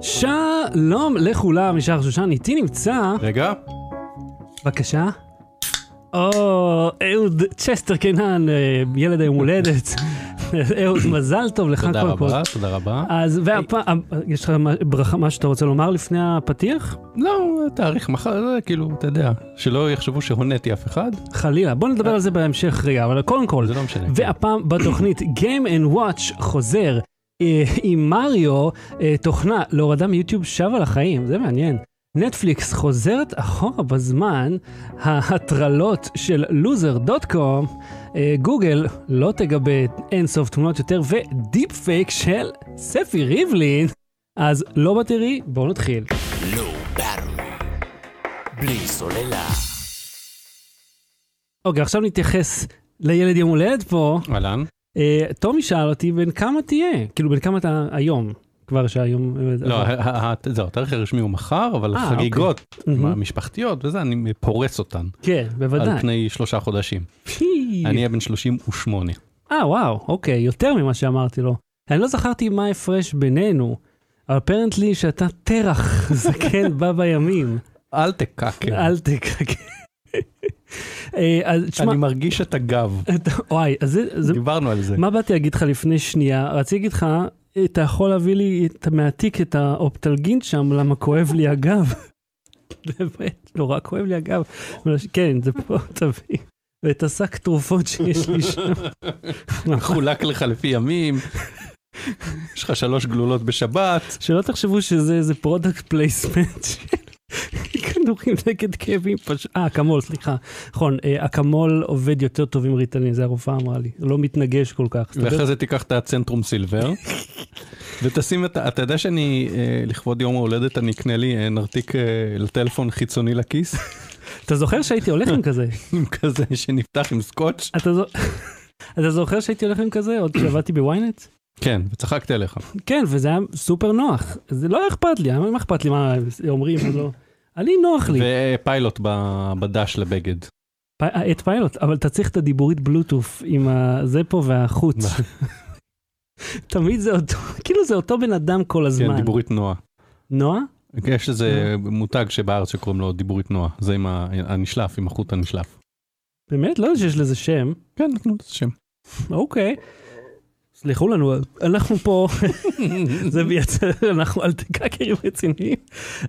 שלום לכולם משער שושן, איתי נמצא, רגע, בבקשה. או, אהוד צ'סטר קינן, אה, ילד היום הולדת. אהוד, מזל טוב לך תודה קודם כל. רבה, תודה רבה. אז והפעם, יש לך מה- ברכה, מה שאתה רוצה לומר לפני הפתיח? לא, תאריך מחר, זה כאילו, אתה יודע, שלא יחשבו שהוניתי אף אחד, חלילה, בוא אה. נדבר על זה בהמשך רגע, אבל קודם כל, זה לא משנה. והפעם בתוכנית Game and Watch חוזר אה, עם מריו, אה, תוכנה להורדה מיוטיוב שבה לחיים, זה מעניין. נטפליקס חוזרת אחורה בזמן, ההטרלות של לוזר.קום, אה, גוגל לא תגבה אינסוף תמונות יותר, ודיפ פייק של ספי ריבלין. אז לא בטרי, בואו נתחיל. לא battery. בלי סוללה. אוקיי, עכשיו נתייחס לילד יום הולדת פה. אהלן, אה, טומי שאל אותי בן כמה תהיה, כאילו בן כמה אתה היום, כבר שהיום... לא, ה- ה- ה- זהו, התאריך הרשמי הוא מחר, אבל אה, החגיגות מהמם. המשפחתיות וזה, אני פורס אותן. כן, על בוודאי. פני שלושה חודשים. פי. אני אהיה בן 38. אה, וואו, אוקיי, יותר ממה שאמרתי לו. אני לא זכרתי מה ההפרש בינינו, אבל apparently שאתה תרח זקן בא בימים. אל תקעקע. אל תקרק. אה, אז תשמע, כן. אני מרגיש את הגב, אתה- וואי, אז זה... זה- דיברנו על זה. מה באתי להגיד לך לפני שנייה? רציתי להגיד לך, אתה יכול להביא לי, אתה מעתיק את האופטלגין שם, למה כואב לי הגב. באמת, נורא כואב לי הגב. אבל ש- כן, זה פה, תביא. ואת השק תרופות שיש לי שם. נכון. חולק לך לפי ימים, יש לך שלוש גלולות בשבת, שלא תחשבו שזה איזה פרודקט פלייסמנט של כדורים נגד כאבים פשוט. אה, אקמול, סליחה. נכון, אה, אקמול עובד יותר טוב עם ריטלין, זה הרופאה אמרה לי. הוא לא מתנגש כל כך. ואחרי זה תיקח את הצנטרום סילבר, ותשים את ה... אתה יודע שאני, אה, לכבוד יום ההולדת, אני אקנה לי אה, נרתיק אה, לטלפון חיצוני לכיס, אתה זוכר שהייתי הולך עם כזה? עם כזה שנפתח עם סקוץ'? אתה זו- אתה זוכר שהייתי הולך עם כזה עוד כשעבדתי בוויינט? כן, וצחקתי עליך. כן, וזה היה סופר נוח. זה לא היה אכפת לי, מה אכפת לי מה אומרים או לא? אני נוח לי. ופיילוט ב- בדש לבגד. כן, פ- אה, את פיילוט, אבל אתה צריך את הדיבורית בלוטוף עם הזה פה והחוץ. תמיד זה אותו, כאילו זה אותו בן אדם כל כן, הזמן. דיבורית נועה. נועה? יש איזה מותג שבארץ שקוראים לו דיבורית נועה, זה עם ה- הנשלף, עם החוט הנשלף. באמת? לא יודע שיש לזה שם. כן, נתנו לזה שם. אוקיי. סלחו לנו, אנחנו פה, זה מייצר, אנחנו אל תקעקרים רציניים,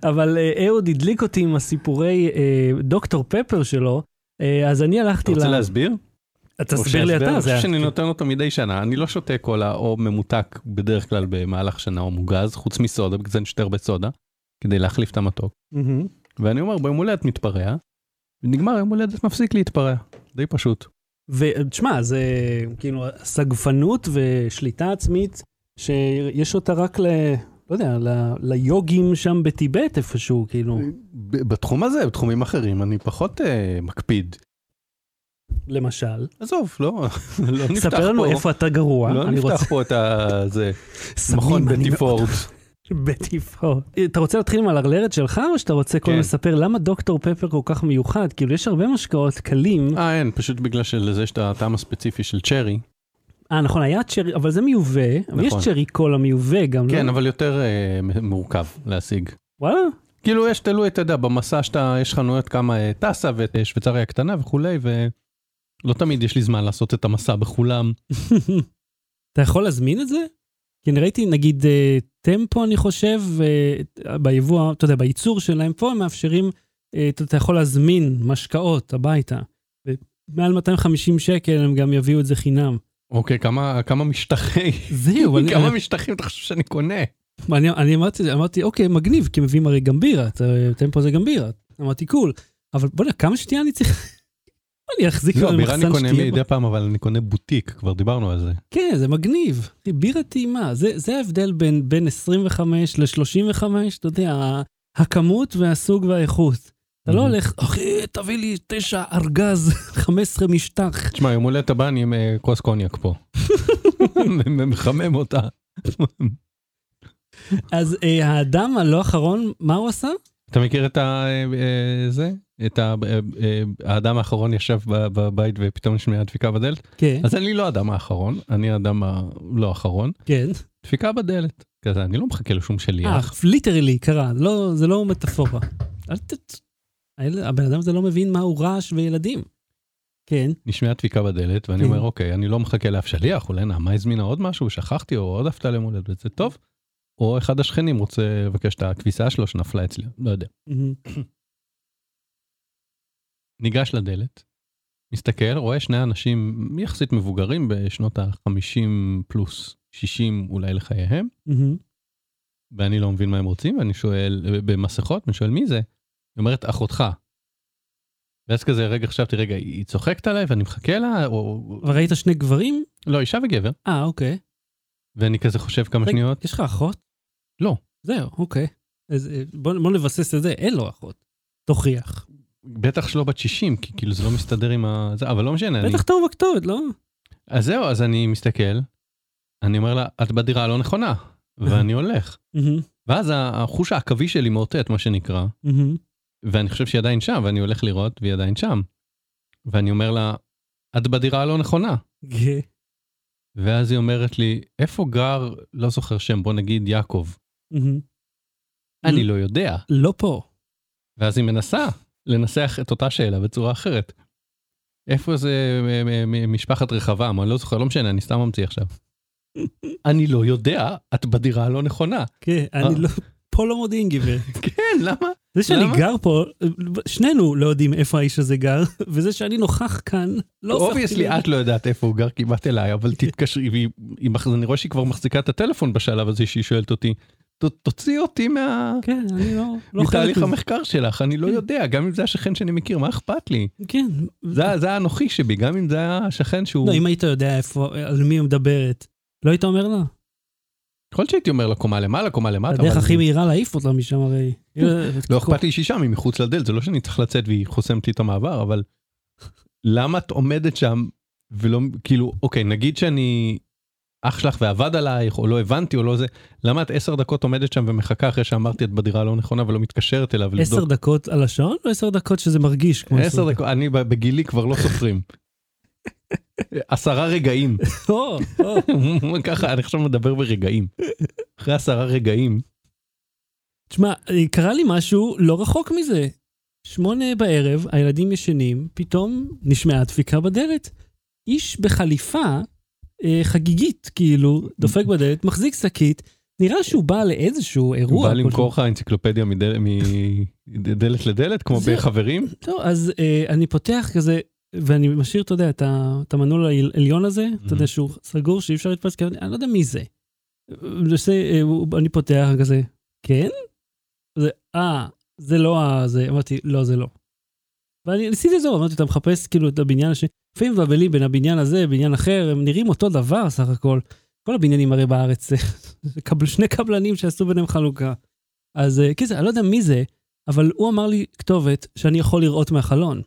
אבל אה, אהוד הדליק אותי עם הסיפורי אה, דוקטור פפר שלו, אה, אז אני אתה הלכתי רוצה להסביר? אז תסביר לי אתה, אני זה חושב היה- שאני נותן אותו מדי שנה, אני לא שותה קולה או ממותק בדרך כלל במהלך שנה או מוגז, חוץ מסודה, בגלל זה אני שותה הרבה סודה, כדי להחליף את המתוק. מהמם. ואני אומר, ביום הולדת מתפרע, ונגמר יום הולדת מפסיק להתפרע, די פשוט. ותשמע, זה כאילו סגפנות ושליטה עצמית, שיש אותה רק ל... לא יודע, ל- ליוגים שם בטיבט איפשהו, כאילו. ב- בתחום הזה, בתחומים אחרים, אני פחות אה, מקפיד. למשל, עזוב, לא, לא נפתח פה. ספר לנו איפה אתה גרוע, לא אני רוצה... נפתח פה את ה- זה, סמים, מכון אני בטי מאוד- פורד. בטיפו. אתה רוצה להתחיל עם הלרלרת שלך, או שאתה רוצה קודם כן. לספר למה דוקטור פפר כל כך מיוחד? כאילו, יש הרבה משקאות קלים. אה, אין, פשוט בגלל שלזה יש את הטעם הספציפי של צ'רי. אה, נכון, היה צ'רי, אבל זה מיובא, אבל יש נכון. צ'רי קולה מיובא גם, לא? כן, אבל יותר אה, מ- מורכב להשיג. וואלה? כאילו יש תלוי, אתה יודע, במסע שאתה, יש חנויות כמה אה, טסה ואת אה, שוויצריה הקטנה וכולי, ולא תמיד יש לי זמן לעשות את המסע בכולם. אתה יכול להזמין את זה? כי אני ראיתי, נגיד, אה, טמפו, אני חושב, אה, ביבוא, אתה יודע, בייצור שלהם פה, הם מאפשרים, אה, אתה אתה יכול להזמין משקאות הביתה. מעל 250 שקל הם גם יביאו את זה חינם. אוקיי, כמה, כמה משטחי, זהו, אני- כמה משטחים אתה חושב שאני קונה? אני, אני אמרתי, אמרתי, אוקיי, מגניב, כי מביאים הרי גם בירה, אתה- טמפו זה גם בירה. אמרתי, קול. אבל בוא'נה, כמה שתייה אני צריך... אני אחזיק לא, במחסן בירה אני קונה שתייה מדי פעם, אבל אני קונה בוטיק, כבר דיברנו על זה. כן, זה מגניב. בירה טעימה, זה, זה ההבדל בין, בין 25 ל-35, אתה יודע, ה- הכמות והסוג והאיכות. אתה לא Mhm. הולך, אחי, תביא לי תשע ארגז, 15 משטח. תשמע, יום הולדת הבא אני עם אה, כוס קוניאק פה. מחמם אותה. אז אה, האדם הלא אחרון, מה הוא עשה? אתה מכיר את ה... אה, אה, זה? את ה... אה, אה, האדם האחרון ישב ב- בבית ופתאום נשמעה דפיקה בדלת? כן, אז אני לא האדם האחרון, אני האדם הלא האחרון. כן. דפיקה בדלת. כזה, אני לא מחכה לשום אה, שליח. ליטרלי קרה, לא- זה לא מטאפורה. אל ת... האל- הבן אדם הזה לא מבין מהו רעש וילדים. כן, נשמעה דפיקה בדלת, ואני כן. אומר, אוקיי, אני לא מחכה לאף שליח, אולי נעמה הזמינה עוד משהו, שכחתי, או עוד הפתעה ליום הולדת, וזה טוב. או אחד השכנים רוצה לבקש את הכביסה שלו שנפלה אצלי, לא יודע. מהמם. ניגש לדלת, מסתכל, רואה שני אנשים יחסית מבוגרים בשנות ה-50 פלוס 60 אולי לחייהם, מהמם. ואני לא מבין מה הם רוצים, ואני שואל, במסכות, אני שואל מי זה? היא אומרת, אחותך. ואז כזה, רגע, חשבתי, רגע, היא צוחקת עליי ואני מחכה לה, או... אבל ראית שני גברים? לא, אישה וגבר, אה, אוקיי. ואני כזה חושב כמה רגע, שניות, יש לך אחות? לא. זהו, אוקיי. אז אה, בוא בוא נבסס את זה, אין לו אחות. תוכיח. בטח שלא בת 60, כי כאילו זה לא מסתדר עם ה... זה, אבל לא משנה, אני... בטח טוב בכתובת, לא? אז זהו, אז אני מסתכל, אני אומר לה, את בדירה הלא נכונה, ואני הולך. מהמם, ואז ה- החוש העכבי שלי מאותת, מה שנקרא, מהמם. ואני חושב שהיא עדיין שם, ואני הולך לראות, והיא עדיין שם. ואני אומר לה, את בדירה הלא נכונה. כן. ואז היא אומרת לי, איפה גר, לא זוכר שם, בוא נגיד יעקב. מהמם. אני לא יודע. לא פה. ואז היא מנסה לנסח את אותה שאלה בצורה אחרת. איפה זה מ- מ- מ- משפחת רחבעם? אני לא זוכר, לא משנה, אני סתם ממציא עכשיו. אני לא יודע, את בדירה הלא נכונה. כן, אני אה. לא... פה לא מודיעין, גברת. כן, למה? זה שאני למה? גר פה, שנינו לא יודעים איפה האיש הזה גר, וזה שאני נוכח כאן, לא אובייסלי את לא יודעת איפה הוא גר, כי באת אליי, אבל תתקשרי, והיא- היא מח- אני רואה שהיא כבר מחזיקה את הטלפון בשלב הזה שהיא שואלת אותי, "ת- תוציא אותי מה... כן, אני לא... לא חלק מתהליך מזה. המחקר שלך, אני לא כן. יודע, גם אם זה השכן שאני מכיר, מה אכפת לי? כן. זה זה האנוכי שבי, גם אם זה היה השכן שהוא... לא, אם היית יודע איפה, על מי היא מדברת, לא היית אומר לה? יכול להיות שהייתי אומר לה קומה למעלה, קומה למטה, הדרך אבל הכי מהירה להעיף אותה משם הרי. לא אכפת לי שהיא שם, היא מחוץ לדלת, זה לא שאני צריך לצאת והיא חוסמת לי את המעבר, אבל למה את עומדת שם ולא, כאילו, אוקיי, נגיד שאני אח שלך ועבד עלייך, או לא הבנתי, או לא זה, למה את עשר דקות עומדת שם ומחכה אחרי שאמרתי את בדירה הלא נכונה ולא מתקשרת אליו עשר לבדוק? דקות על השעון או עשר דקות שזה מרגיש כמו עשר דקות, אני ב- בגילי כבר לא סופרים. עשרה רגעים, או, או. ככה, אני עכשיו מדבר ברגעים. אחרי עשרה רגעים, תשמע, אה, קרה לי משהו לא רחוק מזה. שמונה בערב, הילדים ישנים, פתאום נשמעה דפיקה בדלת. איש בחליפה אה, חגיגית, כאילו, דופק בדלת, מחזיק שקית, נראה שהוא בא לאיזשהו אירוע. הוא בא למכור כלשהו. לך אנציקלופדיה מדל- מדלת לדלת, כמו זהו. בחברים. טוב, אז אה, אני פותח כזה, ואני משאיר, אתה יודע, את ה- את המנעול העליון הזה, אתה יודע שהוא סגור, שאי אפשר להתפס, כי אני אני לא יודע מי זה. וזה, אה, הוא- אני פותח כזה, כן? זה, אה, זה לא ה... זה, אמרתי, לא, זה לא. ואני ניסיתי לזור, אמרתי, אתה מחפש כאילו את הבניין השני. לפעמים מבלבלים בין הבניין הזה, בניין אחר, הם נראים אותו דבר סך הכל. כל הבניינים הרי בארץ, זה קבל- שני קבלנים שעשו ביניהם חלוקה. אז אה, קיצר, אני לא יודע מי זה, אבל הוא אמר לי כתובת שאני יכול לראות מהחלון.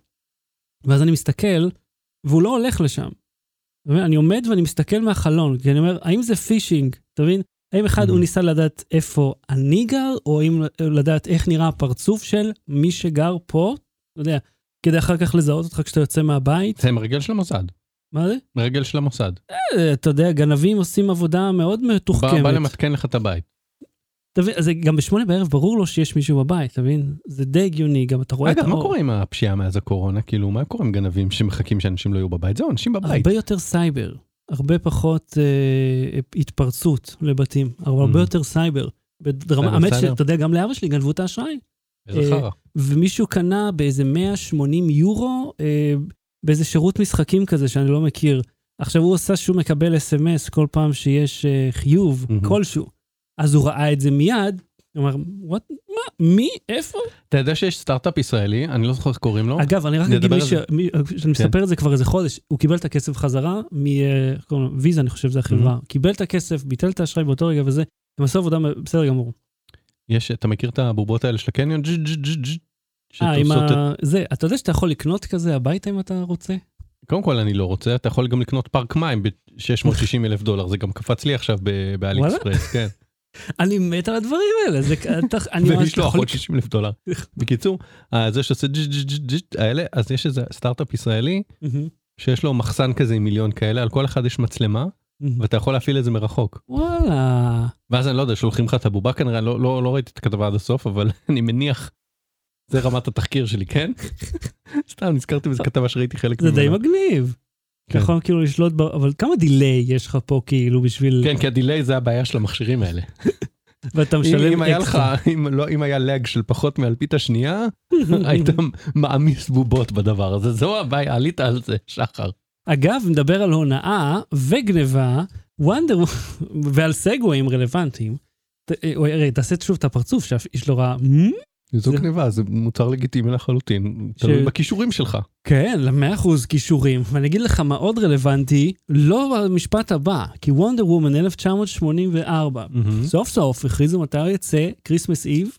ואז אני מסתכל, והוא לא הולך לשם. אתה מבין? אני עומד ואני מסתכל מהחלון, כי אני אומר, האם זה פישינג, אתה מבין? האם אחד Mm-hmm. הוא ניסה לדעת איפה אני גר, או האם לדעת איך נראה הפרצוף של מי שגר פה, אתה יודע, כדי אחר כך לזהות אותך כשאתה יוצא מהבית? זה מרגל של המוסד. מה זה? מרגל של המוסד. אה, אתה יודע, גנבים עושים עבודה מאוד בא, מתוחכמת. בא למתקן לך את הבית. אתה מבין? אז זה גם בשמונה בערב ברור לו שיש מישהו בבית, אתה מבין? זה די הגיוני, גם אתה רואה את אגב, האור. מה קורה עם הפשיעה מאז הקורונה? כאילו, מה קורה עם גנבים שמחכים שאנשים לא יהיו בבית? זהו, אנשים בבית. הרבה יותר סייבר, הרבה פחות אה, התפרצות לבתים, אבל הרבה Mhm. יותר סייבר. בדרמה, סייבר, האמת סייבר. שאתה יודע, גם לאבא שלי גנבו את האשראי, איזה אה, חרא. ומישהו קנה באיזה 180 יורו, אה, באיזה שירות משחקים כזה שאני לא מכיר. עכשיו הוא עשה שהוא מקבל אס.אם.אס כל פעם שיש אה, חיוב Mhm. כלשהו, אז הוא ראה את זה מיד, הוא אמר, "What? מה? מי? איפה? אתה יודע שיש סטארט-אפ ישראלי, אני לא זוכר איך קוראים לו. אגב, אני רק נדבר אגיד מי על ש... זה. כן. מי- שאני מספר את זה כבר איזה חודש, הוא קיבל את הכסף חזרה אה, מוויזה, אני חושב, זה החברה. Mm-hmm. קיבל את הכסף, ביטל את האשראי באותו רגע וזה, הם עשו עבודה בסדר גמור. יש, אתה מכיר את הבובות האלה של הקניון? ג' ג' ג' ג' אה, עם שתופסות את... ה... זה, אתה יודע שאתה יכול לקנות כזה הביתה אם אתה רוצה? קודם כל, אני לא רוצה, אתה יכול גם לקנות פארק מים ב-660 אלף דולר, זה גם קפץ לי עכשיו וואלה? באלי אקספרס, כן. אני מת על הדברים האלה, זה כ- אתה- אני ממש ולשלוח יכול- עוד 60 אלף דולר. בקיצור, אה, זה שעושה ג'י ג'י ג'י ג'י האלה, אז יש איזה סטארט-אפ ישראלי מהמם, שיש לו מחסן כזה עם מיליון כאלה, על כל אחד יש מצלמה, מהמם. ואתה יכול להפעיל את זה מרחוק. Mm-hmm, וואלה. ואז אני לא יודע, שולחים לך את הבובה כנראה, לא, לא, לא ראיתי את הכתבה עד הסוף, אבל אני מניח, זה רמת התחקיר שלי, כן? סתם נזכרתי באיזה כתבה שראיתי חלק זה די מגניב. אתה כן. יכול כאילו לשלוט, ב... אבל כמה דיליי יש לך פה כאילו בשביל... כן, כי הדיליי זה הבעיה של המכשירים האלה. ואתה משלם אם, אם היה לך, אקסטרה. אם, לא, אם היה לאג של פחות מאלפית השנייה, היית מעמיס בובות בדבר הזה, זו הבעיה, עלית על זה, שחר. אגב, נדבר על הונאה וגניבה, וונדר ועל סגוויים רלוונטיים. ת- אה, אוי, תעשה שוב את הפרצוף שיש לו רע. "מ?" זו זה- גניבה, זה מוצר לגיטימי לחלוטין, ש- תלוי בכישורים שלך. כן, למאה אחוז כישורים. ואני אגיד לך מה עוד רלוונטי, לא המשפט הבא, כי וונדר וומן 1984, סוף סוף הכריזו מתי יצא כריסמס איב,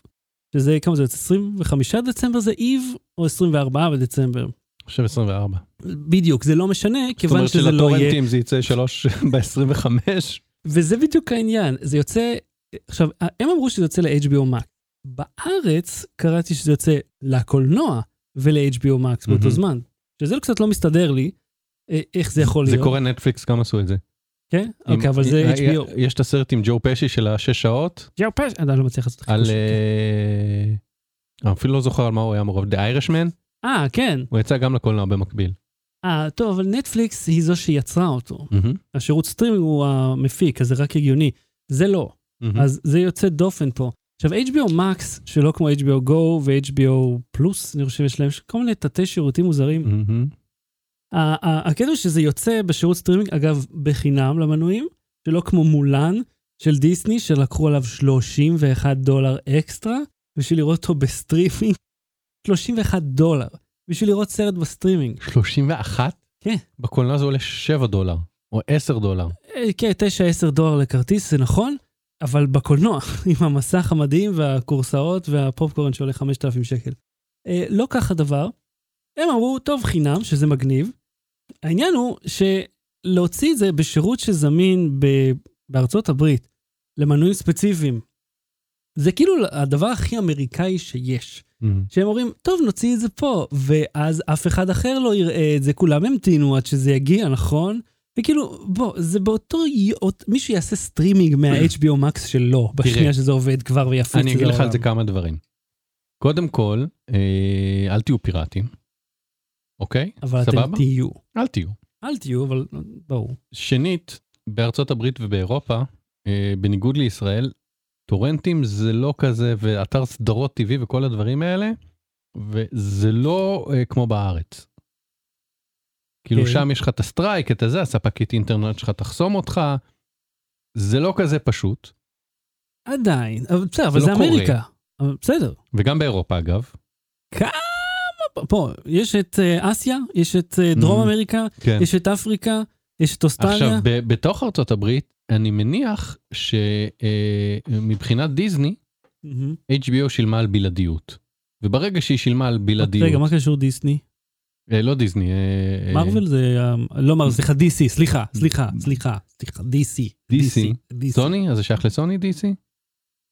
שזה כמה זה יוצא? 25 דצמבר זה איב, או 24 בדצמבר. עכשיו 24. בדיוק, זה לא משנה, זאת כיוון אומרת שזה לא יהיה... שלטורנטים זה יצא 3 ב-25. וזה בדיוק העניין, זה יוצא, עכשיו, הם אמרו שזה יוצא ל-HBO Max. בארץ קראתי שזה יוצא לקולנוע ול-HBO Max באותו מהמם. זמן, שזה קצת לא מסתדר לי, אה, איך זה יכול זה להיות. קורה נטפליקס, גם עשו את זה. כן? אוקיי, עם- אבל זה אה, HBO. יש את הסרט עם ג'ו פשי של השש שעות, ג'ו פש, אני לא מצליח לעשות על... חיפוש. אה, אני אפילו לא זוכר על מה הוא היה מעורב, The Irishman, אה, כן. הוא יצא גם לקולנוע במקביל. אה, טוב, אבל נטפליקס היא זו שיצרה אותו. השירות סטרימינג הוא המפיק, אז זה רק הגיוני. זה לא. מהמם. אז זה יוצא דופן פה. עכשיו, HBO Max, שלא כמו HBO Go ו-HBO פלוס, אני חושב, יש להם כל מיני תתי שירותים מוזרים. מהמם. ה- ה- הקטע הוא שזה יוצא בשירות סטרימינג, אגב, בחינם למנויים, שלא כמו מולן של דיסני, שלקחו עליו 31 דולר אקסטרה, בשביל לראות אותו בסטרימינג. 31 דולר, בשביל לראות סרט בסטרימינג. 31? כן. בקולנוע זה עולה 7 דולר, או 10 דולר. אה, כן, 9-10 דולר לכרטיס, זה נכון, אבל בקולנוע, עם המסך המדהים והכורסאות והפופקורן שעולה 5,000 שקל. אה, לא כך הדבר. הם אמרו, טוב, חינם, שזה מגניב. העניין הוא שלהוציא את זה בשירות שזמין ב- בארצות הברית למנויים ספציפיים, זה כאילו הדבר הכי אמריקאי שיש. שהם אומרים, טוב, נוציא את זה פה, ואז אף אחד אחר לא יראה את זה, כולם ימתינו עד שזה יגיע, נכון? וכאילו, בוא, זה באותו... י- אות- מישהו יעשה סטרימינג מה-HBO Max שלו, בשנייה שזה עובד כבר ויפיץ את זה אני אגיד לך על זה לעולם. כמה דברים. קודם כל, אה, אל תהיו פיראטים, אוקיי? אבל אתם סבבה? תהיו. אל תהיו. אל תהיו, אבל ברור. שנית, בארצות הברית ובאירופה, אה, בניגוד לישראל, טורנטים זה לא כזה, ואתר סדרות טבעי וכל הדברים האלה, וזה לא אה, כמו בארץ. כאילו כן. שם יש לך את הסטרייק, את הזה, הספקית אינטרנט שלך תחסום אותך, זה לא כזה פשוט, עדיין, אבל בסדר, אבל זה זה לא קורה. אמריקה. אבל בסדר. וגם באירופה אגב. פה, יש את אה, אסיה, יש את אה, דרום Mhm. אמריקה, כן. יש את אפריקה, יש את עכשיו, אוסטרליה. ב- בתוך ארצות הברית, אני מניח שמבחינת דיסני, מהמם. HBO שילמה על בלעדיות. וברגע שהיא שילמה אוקיי, על בלעדיות, רגע, מה קשור דיסני? אה, לא דיסני, אה, Mm. אה, מרוויל זה, אה, לא מרוויל, סליחה, DC, סליחה, סליחה, סליחה, סליחה, DC. DC. DC. סוני? אז זה שייך לסוני DC?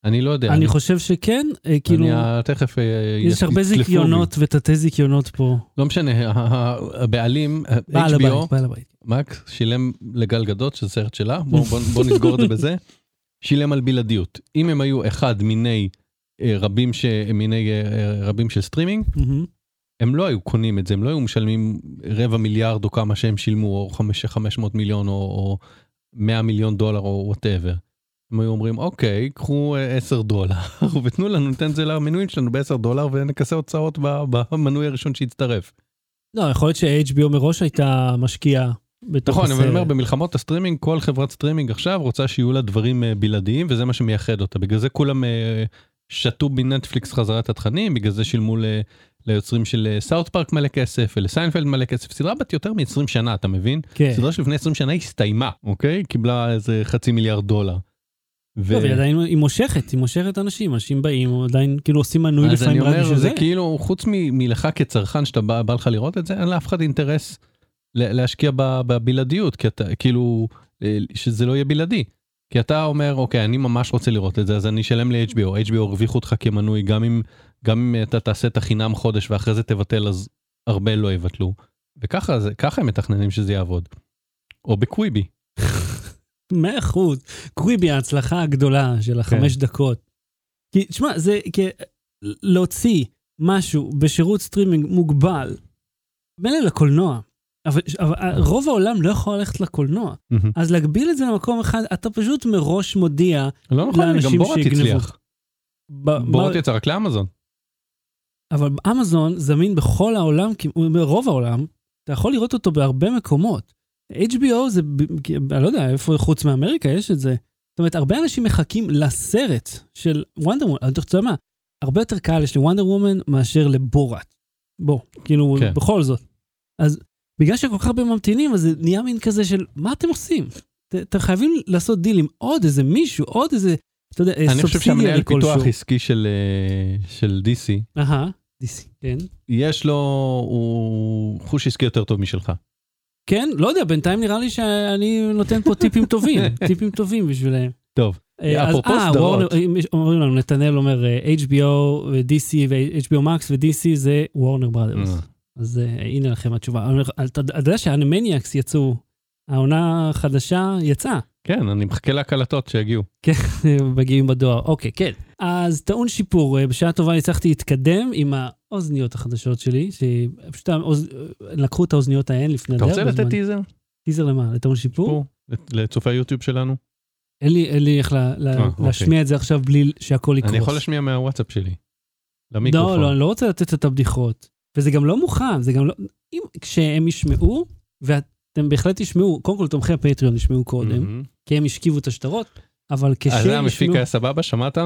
אני לא יודע. אני חושב שכן, אה, כאילו, אני אה, תכף... אה, יש הרבה יצלפו זיכיונות ותתי זיכיונות פה. בי. לא משנה, ה- ה- הבעלים, אה, בעל הבית, HBO, בעל הבית. מקס, שילם לגל גדות, שזה סרט שלה, בואו נסגור את זה בזה, שילם על בלעדיות. אם הם היו אחד מיני אה, רבים ש- מיני, אה, אה, רבים של סטרימינג, מהמם. הם לא היו קונים את זה, הם לא היו משלמים רבע מיליארד או כמה שהם שילמו, או חמש- 500 מיליון, או, או 100 מיליון דולר, או וואטאבר. הם היו אומרים, אוקיי, קחו אה, 10 דולר, ותנו לנו, ניתן את זה למנויים שלנו ב-10 דולר, ונכסה הוצאות ב- במנוי הראשון שיצטרף. לא, יכול להיות ש-HBO מראש הייתה משקיעה בתוך נכון, אבל אני אומר, הסרט. במלחמות הסטרימינג, כל חברת סטרימינג עכשיו רוצה שיהיו לה דברים אה, בלעדיים, וזה מה שמייחד אותה. בגלל זה כולם אה, שתו בנטפליקס חזרה את התכנים, בגלל זה שילמו ל... ליוצרים של סאוט פארק מלא כסף ולסיינפלד מלא כסף, סדרה בת יותר מ-20 שנה, אתה מבין? כן. סדרה שלפני 20 שנה הסתיימה, אוקיי? קיבלה איזה חצי מיליארד דולר. ו- טוב, היא עדיין, היא מושכת, היא מושכת אנשים, אנשים באים, או עדיין כאילו עושים מנוי אז אני לפעמים רק אומר, בשביל זה זה. כאילו, חוץ מ- מלך כצרכן שאתה בא, בא לך לראות את זה, אין לאף אחד אינטרס ל- להשקיע ב- בבלעדיות, כי אתה, כאילו, אה, שזה לא יהיה בלעדי. כי אתה אומר, אוקיי, אני ממש רוצה לראות את זה, אז אני אשלם ל-HBO. HBO הרוויחו אותך כמנוי, גם אם, גם אם אתה תעשה את החינם חודש ואחרי זה תבטל, אז הרבה לא יבטלו. וככה זה, ככה הם מתכננים שזה יעבוד. או בקוויבי. מאה אחוז. קוויבי ההצלחה הגדולה כן. של החמש דקות. כי, תשמע, זה כי, להוציא משהו בשירות סטרימינג מוגבל, מילא לקולנוע, אבל, אבל רוב העולם לא יכול ללכת לקולנוע. מהמם. אז להגביל את זה למקום אחד, אתה פשוט מראש מודיע, לא נכון, לאנשים גם בורת שיגנבו. הצליח. ב, מה, בורת יצא רק לאמזון. אבל אמזון זמין בכל העולם, כי- ברוב העולם, אתה יכול לראות אותו בהרבה מקומות. HBO זה, ב- כי- אני לא יודע איפה חוץ מאמריקה יש את זה. זאת אומרת, הרבה אנשים מחכים לסרט של וונדר וומן, אתה יודע מה, הרבה יותר קל יש לוונדר וומן מאשר לבורת. בוא, כאילו, כן. בכל זאת. אז בגלל שכל כך הרבה ממתינים, אז זה נהיה מין כזה של, מה אתם עושים? ת- אתם חייבים לעשות דיל עם עוד איזה מישהו, עוד איזה, אתה יודע, סובסידיה אני חושב שהמנהל פיתוח כלשהו. עסקי של, אה, של DC, אהה, דיסי, כן. יש לו, הוא חוש עסקי יותר טוב משלך. כן, לא יודע, בינתיים נראה לי שאני נותן פה טיפים טובים, טיפים טובים בשבילהם. טוב, אה, אז- אפרופו אה, סדרות. וורנר- אם יש- אומרים לנו, נתנאל אומר אה, HBO ו-DC ו-HBO Max ו-DC זה וורנר בראדרס. אה. אז אה, הנה לכם התשובה. אני- אתה אתה יודע שהאנימניאקס יצאו, העונה החדשה יצאה. כן, אני מחכה להקלטות שיגיעו. מגיעים בדואר, אוקיי, כן. אז טעון שיפור, אה, בשעה טובה הצלחתי להתקדם עם האוזניות החדשות שלי, שפשוט האוז- לקחו את האוזניות ההן לפני... אתה זה, רוצה בזמן- לתת טיזר? טיזר למה? לטעון שיפור? פה, לת- לצופי היוטיוב שלנו? אין לי, אין לי איך לה, לה, אה, להשמיע את זה עכשיו בלי שהכל יקרוס. אני יכול להשמיע מהוואטסאפ שלי. לא, למיקרופון. לא, אני לא רוצה לתת את הבדיחות. וזה גם לא מוכן, זה גם לא... אם, כשהם ישמעו, ואתם בהחלט תשמעו, קודם כל תומכי הפטריון ישמעו לא קודם, מהמם. כי הם השכיבו את השטרות, אבל כשהם אז ישמעו... Mm-hmm. אה, זה המפיק היה סבבה, שמעת?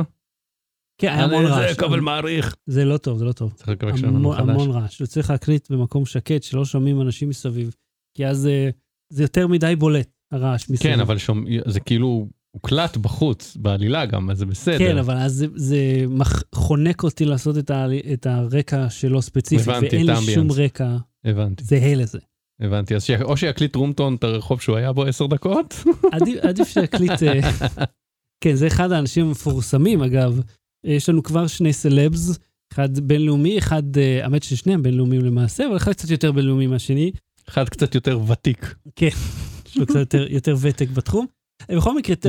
כן, היה אני- המון זה רעש. כבל מעריך. זה לא טוב, זה לא טוב. צריך לקבל שלנו המון, מחדש. המון רעש. וצריך להקליט במקום שקט, שלא שומעים אנשים מסביב, כי אז אה, זה יותר מדי בולט, הרעש מסביב. כן, אבל שומע- זה כאילו הוקלט בחוץ, בעלילה גם, אז זה בסדר. כן, אבל אז זה, זה מח... חונק אותי לעשות את, ה... את הרקע שלו ספציפית, הבנתי, ואין את לי האמביאנס. שום רקע הבנתי, זהה לזה. הבנתי. אז שיה- או שיקליט רומטון את הרחוב שהוא היה בו עשר דקות, עדיף, עדיף שיקליט... אה, כן, זה אחד האנשים המפורסמים, אגב. אה, יש לנו כבר שני סלבס, אחד בינלאומי, אחד, אה, האמת ששניהם בינלאומיים למעשה, אבל אחד קצת יותר בינלאומי מהשני. אחד קצת יותר ותיק. יש לו קצת יותר, יותר ותק בתחום. אה, בכל מקרה, ת-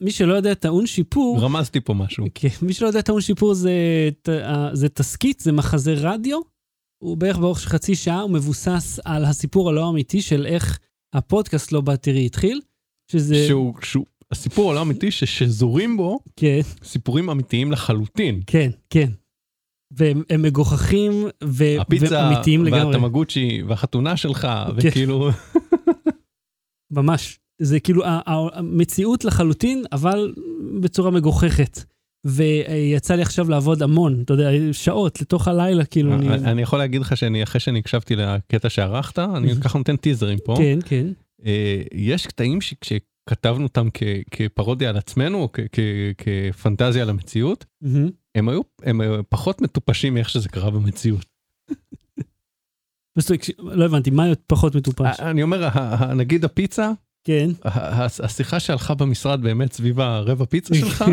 מי שלא יודע, טעון שיפור. רמזתי פה משהו. כן, מי שלא יודע, טעון שיפור זה, ת- אה, זה תסכית, זה מחזה רדיו. הוא בערך באורך של חצי שעה, הוא מבוסס על הסיפור הלא אמיתי של איך הפודקאסט לא בא תראי התחיל. שזה, שהוא, שהוא- הסיפור העולם אמיתי ששזורים בו כן, סיפורים אמיתיים לחלוטין. כן, כן. והם הם מגוחכים ו- הפיצה, ואמיתיים אה, לגמרי, והתמגוצ'י, והחתונה שלך, כן. וכאילו, ממש. זה כאילו ה- ה- המציאות לחלוטין, אבל בצורה מגוחכת. ויצא לי עכשיו לעבוד המון, אתה יודע, שעות לתוך הלילה, כאילו. אני- אני יכול להגיד לך שאני, אחרי שאני הקשבתי לקטע שערכת, אני ככה נותן טיזרים פה. כן, כן. אה, יש קטעים שכשכתבנו אותם כ- כפרודיה על עצמנו, או כ- כ- כפנטזיה על המציאות, מהמם. הם היו הם היו פחות מטופשים מאיך שזה קרה במציאות. מה זאת אומרת, כש- לא הבנתי, מה פחות מטופש? אה, אני אומר, ה- ה- נגיד הפיצה, כן. ה- ה- השיחה שהלכה במשרד באמת סביב הרבע פיצה שלך,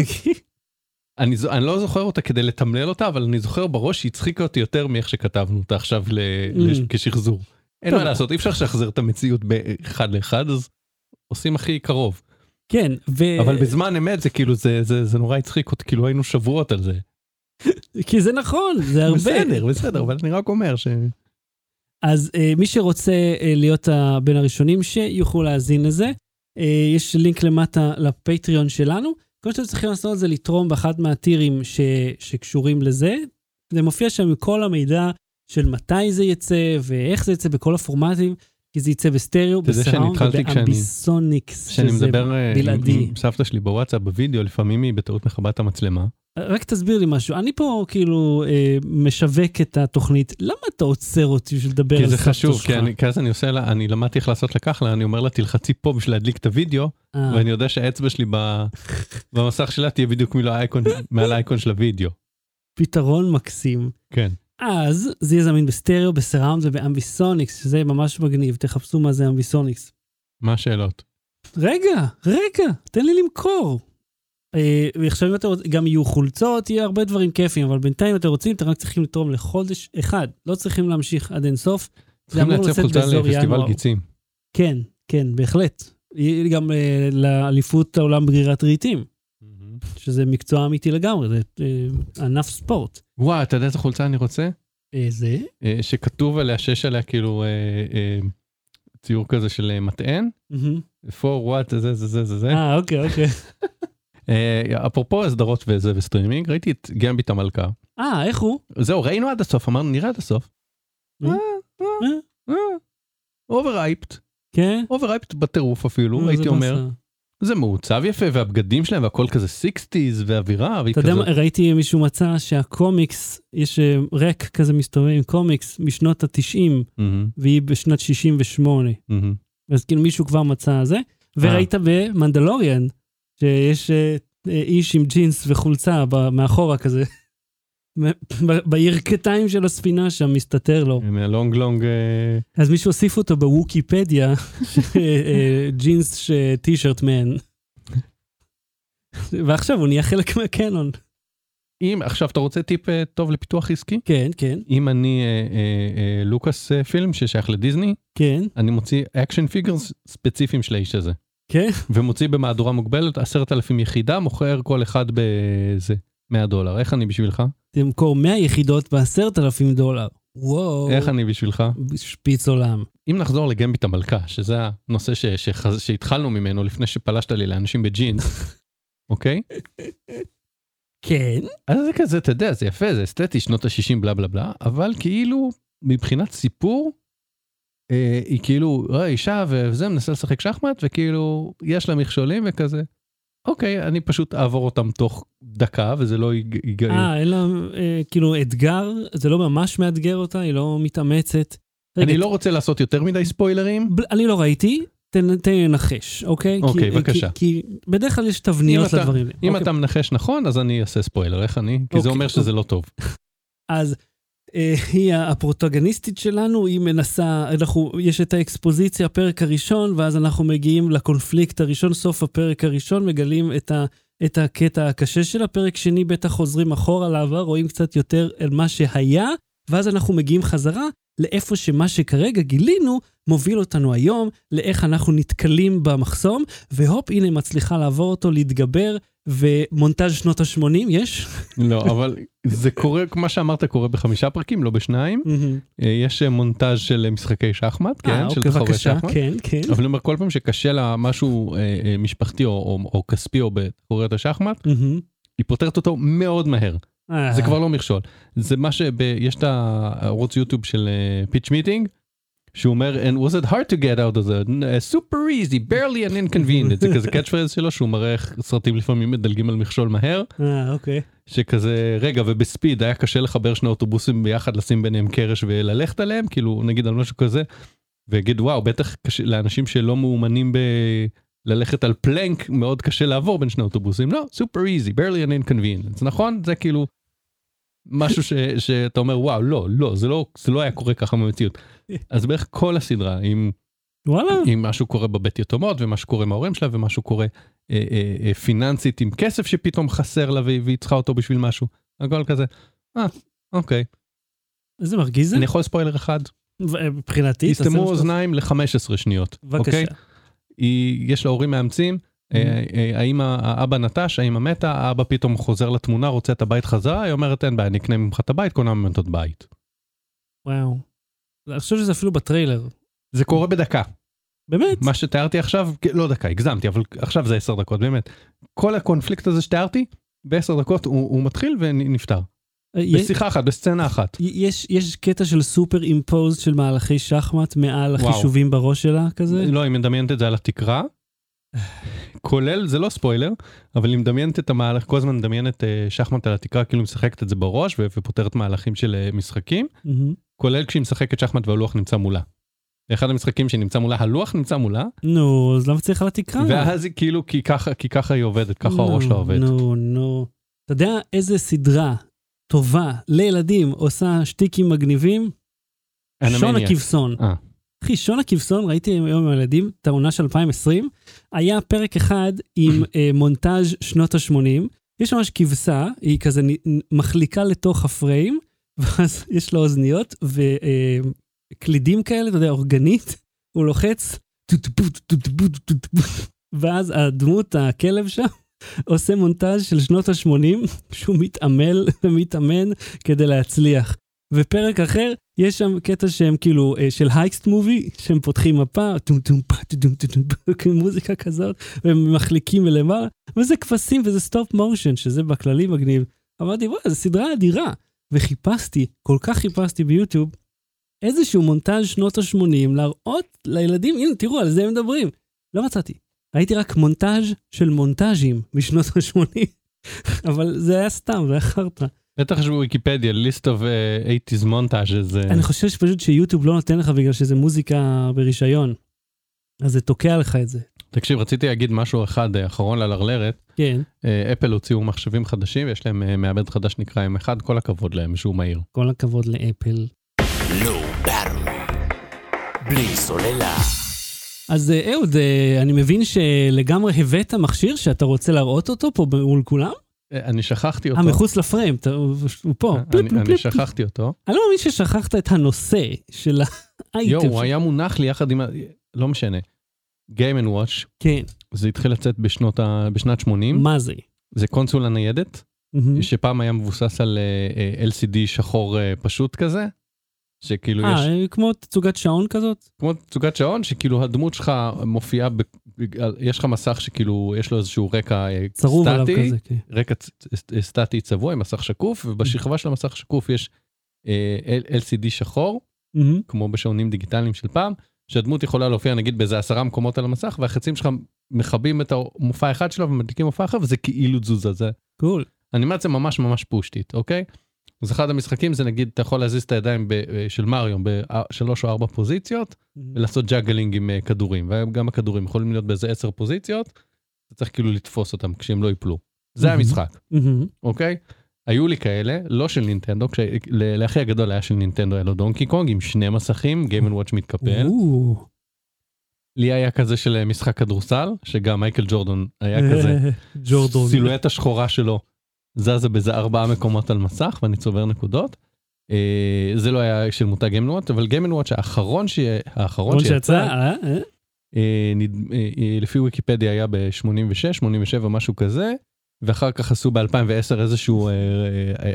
אני, זו- אני לא זוכר אותה כדי לתמלל אותה, אבל אני זוכר בראש שהיא הצחיקה אותי יותר מאיך שכתבנו אותה עכשיו ל, לש, Mm. כשחזור. אין טוב. מה לעשות, אי אפשר לשחזר את המציאות באחד לאחד, אז עושים הכי קרוב. כן, ו... אבל בזמן אמת זה כאילו, זה, זה, זה נורא הצחיק אותי, כאילו היינו שבועות על זה. כי זה נכון, זה הרבה. בסדר, בסדר, אבל אני רק אומר ש... אז אה, מי שרוצה אה, להיות ה- בין הראשונים שיוכלו להאזין לזה, אה, יש לינק למטה לפטריון שלנו. כל שאתם צריכים לעשות זה לתרום באחד מהטירים ש... שקשורים לזה. זה מופיע שם עם כל המידע של מתי זה יצא ואיך זה יצא בכל הפורמטים, כי זה יצא בסטריאו, אתה יודע שאני בסאונד התחלתי כשאני- ובאמביסוניקס. כשאני שזה- מדבר אה, בלעדי. עם, עם סבתא שלי בוואטסאפ, בווידאו, לפעמים היא בטעות מכבה את המצלמה. רק תסביר לי משהו, אני פה כאילו אה, משווק את התוכנית, למה אתה עוצר אותי בשביל לדבר על כי סבתא זה שלך? חשוב, כי אני- כי אז אני עושה לה, אני למדתי איך לעשות לה ככה, אני אומר לה תלחצי פה בשביל להדליק את הוידאו, אה, ואני יודע שהאצבע שלי ב- במסך שלה תהיה בדיוק מלא האייקון, מעל האייקון של הוידאו. פתרון מקסים. כן. אז זה יהיה זמין בסטריאו, בסראונד ובאמביסוניקס, שזה ממש מגניב, תחפשו מה זה אמביסוניקס. מה השאלות? רגע, רגע, תן לי למכור. אה, ועכשיו אם אתה רוצה, גם יהיו חולצות, יהיו הרבה דברים כיפיים, אבל בינתיים אם אתם רוצים, אתם רק צריכים לתרום לחודש אחד. לא צריכים להמשיך עד אינסוף. זה צריכים אמור לייצר לצאת חולצה באזור לפסטיבל ינואר. גיצים. כן, כן, בהחלט. יהיה גם אה, לאליפות העולם בגרירת רהיטים, שזה מקצוע אמיתי לגמרי, זה אה, ענף ספורט. וואי, אתה יודע איזה חולצה אני רוצה? אה, זה? אה, שכתוב עליה, שיש עליה כאילו אה, אה, ציור כזה של אה, מטען. מהמם. for what זה זה זה זה זה. אה, אוקיי, אוקיי. אה, אפרופו הסדרות וזה וסטרימינג, ראיתי את גמביט המלכה. אה, איך הוא? זהו, ראינו עד הסוף, אמרנו נראה עד הסוף. אה, אה, אוברייפט, כן? אוברייפט בטירוף אפילו, אה, הייתי זה אומר. באסה. זה מעוצב יפה, והבגדים שלהם והכל כזה 60's ואווירה, והיא אתה יודע, מה, כזה... ראיתי מישהו מצא שהקומיקס, יש אה, רק כזה מסתובב עם קומיקס משנות ה-90, מהמם, והיא בשנת 68. מהמם. אז כאילו מישהו כבר מצא זה, וראית אה. במנדלוריאן, שיש אה, אה, איש עם ג'ינס וחולצה ב- מאחורה כזה. ב- בירכתיים של הספינה שם מסתתר לו. מהלונג לונג... אה, אז מישהו הוסיף אותו בוויקיפדיה, אה, אה, ג'ינס ש- טישרט מן. ועכשיו הוא נהיה חלק מהקנון. אם עכשיו אתה רוצה טיפ אה, טוב לפיתוח עסקי? כן, כן, אם אני אה, אה, אה, לוקאס אה, פילם ששייך לדיסני, כן, אני מוציא אקשן פיגרס ספציפיים של האיש הזה. כן. ומוציא במהדורה מוגבלת 10,000 יחידה, מוכר כל אחד בזה 100 דולר. איך אני בשבילך? תמכור 100 יחידות ב-10,000 דולר. וואו, איך אני בשבילך? שפיץ עולם. אם נחזור לגמביט המלכה, שזה הנושא ש- שחז- שהתחלנו ממנו לפני שפלשת לי לאנשים בג'ינס, אוקיי? כן, אז זה כזה, אתה יודע, זה יפה, זה אסתטי, שנות ה-60, בלה בלה בלה, אבל כאילו, מבחינת סיפור, אה, היא כאילו, אה, אישה וזה, מנסה לשחק שחמט, וכאילו, יש לה מכשולים וכזה. אוקיי, אני פשוט אעבור אותם תוך דקה, וזה לא יג- ייגעל. אה, אלא אה, כאילו אתגר, זה לא ממש מאתגר אותה, היא לא מתאמצת. אני רגע, לא רוצה לעשות יותר מדי ספוילרים. בל- אני לא ראיתי, תן- תן לי לנחש, אוקיי? אוקיי, כי- בבקשה. כי כי בדרך כלל יש תבניות אתה- לדברים. האלה. אם אוקיי, אתה מנחש נכון, אז אני אעשה ספוילר, איך אני? כי זה אוקיי. אומר שזה לא טוב. אז אה, היא הפרוטגניסטית שלנו, היא מנסה, אנחנו, יש את האקספוזיציה, הפרק הראשון, ואז אנחנו מגיעים לקונפליקט הראשון, סוף הפרק הראשון, מגלים את, ה, את הקטע הקשה של הפרק שני, בטח חוזרים אחורה לעבר, רואים קצת יותר אל מה שהיה, ואז אנחנו מגיעים חזרה לאיפה שמה שכרגע גילינו מוביל אותנו היום, לאיך אנחנו נתקלים במחסום, והופ, הנה מצליחה לעבור אותו, להתגבר, ומונטאז' שנות ה-80 יש? לא, אבל זה קורה, כמו שאמרת, קורה בחמישה פרקים, לא בשניים. אה, יש אה, מונטאז' של אה, משחקי שחמט, אה, כן, של אוקיי, תחרויות בבקשה, שחמט. כן, כן. אבל אני אומר, כל פעם שקשה לה משהו אה, אה, משפחתי או, או, או כספי או בתחרויות השחמט, מהמם. היא פותרת אותו מאוד מהר. אה, זה כבר לא מכשול. זה מה שב... יש את הערוץ יוטיוב של פיץ' מיטינג, שהוא אומר, and was it hard to get out of the uh, super easy, barely an inconvenient. זה כזה catch phrase שלו, שהוא מראה איך סרטים לפעמים מדלגים על מכשול מהר, אה, אוקיי. שכזה, רגע, ובספיד היה קשה לחבר שני אוטובוסים ביחד, לשים ביניהם קרש וללכת עליהם, כאילו, נגיד על משהו כזה, ויגיד, וואו, בטח קשה, לאנשים שלא מאומנים ב... ללכת על פלנק מאוד קשה לעבור בין שני אוטובוסים לא סופר איזי barely an inconvenience נכון זה כאילו משהו ש, שאתה אומר וואו לא לא זה לא זה לא היה קורה ככה במציאות אז בערך כל הסדרה עם וואלה. עם מה שקורה בבית יתומות ומה שקורה עם ההורים שלה ומה שקורה אה, אה, אה, פיננסית עם כסף שפתאום חסר לה והיא והיא צריכה אותו בשביל משהו. הכל כזה. אה, אוקיי. איזה מרגיז זה. אני יכול ספוילר אחד? ו- מבחינתי, תעשה תסתמו מה שאתה- אוזניים ל-15 שניות. אוקיי? בבקשה. היא- יש לה הורים מאמצים. אה, Mm-hmm. אה, האמא, האבא נטש, האמא מתה, האבא פתאום חוזר לתמונה, רוצה את הבית חזרה, היא אומרת אין בעיה, נקנה ממך את הבית, קונה ממנו את הבית. וואו. אני חושב שזה אפילו בטריילר. זה קורה בדקה. באמת? מה שתיארתי עכשיו, כן, לא דקה, הגזמתי, אבל עכשיו זה עשר דקות, באמת. כל הקונפליקט הזה שתיארתי, בעשר דקות הוא, הוא מתחיל ונפתר. אה, יש- בשיחה אחת, בסצנה אחת. יש, יש קטע של סופר אימפוז של מהלכי שחמט מעל וואו. החישובים בראש שלה כזה? לא, היא מדמיינת את זה על התקרה. כולל, זה לא ספוילר, אבל היא מדמיינת את המהלך, כל הזמן מדמיינת אה, שחמט על התקרה, כאילו היא משחקת את זה בראש ו- ופותרת מהלכים של אה, משחקים, מהמם. כולל כשהיא משחקת שחמט והלוח נמצא מולה. אחד המשחקים שנמצא מולה, הלוח נמצא מולה, נו, אז למה צריך על התקרה? ואז היא כאילו, כי ככה, כי ככה היא עובדת, ככה אה. נו, הראש שלה עובד. נו, נו. אתה יודע איזה סדרה טובה לילדים עושה שטיקים מגניבים? שון אנמניה. הכבשון. אה. אחי, שון הכבשון, ראיתי היום עם הילדים את העונה של 2020, היה פרק אחד עם אה, מונטאז' שנות ה-80. יש ממש כבשה, היא כזה נ- מחליקה לתוך הפריים, ואז יש לה אוזניות וקלידים כאלה, אתה יודע, אורגנית, הוא לוחץ, טוטבו, טוטבו, טוטבו, ואז הדמות, הכלב שם, עושה מונטאז' של שנות ה-80, שהוא מתעמל ומתאמן כדי להצליח. ופרק אחר, יש שם קטע שהם כאילו, אה, של הייסט מובי, שהם פותחים מפה, טום טום פה, טום טום טום פה, כאילו מוזיקה כזאת, והם מחליקים מלמעלה, וזה כבשים וזה סטופ מושן, שזה בכללי מגניב. אמרתי, וואי, זו סדרה אדירה. וחיפשתי, כל כך חיפשתי ביוטיוב, איזשהו מונטאז' שנות ה-80 להראות לילדים, הנה, תראו, על זה הם מדברים. לא מצאתי. ראיתי רק מונטאז' של מונטאז'ים משנות ה-80, אבל זה היה סתם, זה היה חרטא. בטח שבוויקיפדיה, list of אה, 80's montages. אה, אני חושב שפשוט שיוטיוב לא נותן לך בגלל שזה מוזיקה ברישיון. אז זה תוקע לך את זה. תקשיב, רציתי להגיד משהו אחד אה, אחרון ללרלרת. כן, אה, אפל הוציאו מחשבים חדשים ויש להם אה, מעבד חדש נקרא M1, כל הכבוד להם שהוא מהיר. כל הכבוד לאפל. Low Battery. לא, בלי סוללה. אז אה, אהוד, אה, אני מבין שלגמרי הבאת מכשיר שאתה רוצה להראות אותו פה מול כולם? אה, אני שכחתי אה, אותו. מחוץ לפריים, אתה- הוא פה. אה, פליפ, אני- פליפ, אני פליפ. שכחתי אותו. אני לא מאמין ששכחת את הנושא של האייטם. יואו, הוא ש- היה מונח לי יחד עם ה... לא משנה. Game Watch, כן, זה התחיל לצאת בשנות ה... בשנת 80. מה Mm-hmm. זה? זה קונסולה ניידת, מהמם. שפעם היה מבוסס על אה, אה, LCD שחור אה, פשוט כזה. שכאילו יש... אה, כמו תצוגת שעון כזאת? כמו תצוגת שעון שכאילו הדמות שלך מופיעה, ב... בגלל- יש לך מסך שכאילו יש לו איזשהו רקע אה, צרוב עליו סטטי, כזה, כן. רקע צ- צ- סטטי צבוע עם מסך שקוף ובשכבה של המסך השקוף יש אה, L- LCD שחור מהמם. כמו בשעונים דיגיטליים של פעם שהדמות יכולה להופיע נגיד באיזה עשרה מקומות על המסך והחצים שלך מכבים את המופע האחד שלו ומדליקים מופע אחר וזה כאילו תזוזה זה קול. אנימציה ממש ממש פושטית אוקיי. אז אחד המשחקים זה נגיד אתה יכול להזיז את הידיים ב, אה, של מריו בשלוש או ארבע פוזיציות ולעשות ג'אגלינג עם אה, כדורים וגם הכדורים יכולים להיות באיזה עשר פוזיציות. אתה צריך כאילו לתפוס אותם כשהם לא ייפלו. זה מהמם. המשחק. מהמם. אוקיי? היו לי כאלה, לא של נינטנדו, כש- ל- לאחי הגדול היה של נינטנדו, היה לו דונקי קונג עם שני מסכים, גיימן וואץ' מתקפל. או. לי היה כזה של אה, משחק כדורסל, שגם מייקל ג'ורדון היה כזה. אה, ג'ורדון. סילואטה שחורה שלו זזה באיזה ארבעה מקומות על מסך, ואני צובר נקודות. אה, זה לא היה של מותג גיימן וואץ', אבל גיימן וואץ' האחרון ש- האחרון רון שיצא, שיצא, אה? אה? אה, נד- אה, אה, לפי וויקיפדיה היה ב-86, 87, משהו כזה, ואחר כך עשו ב-2010 איזשהו אה,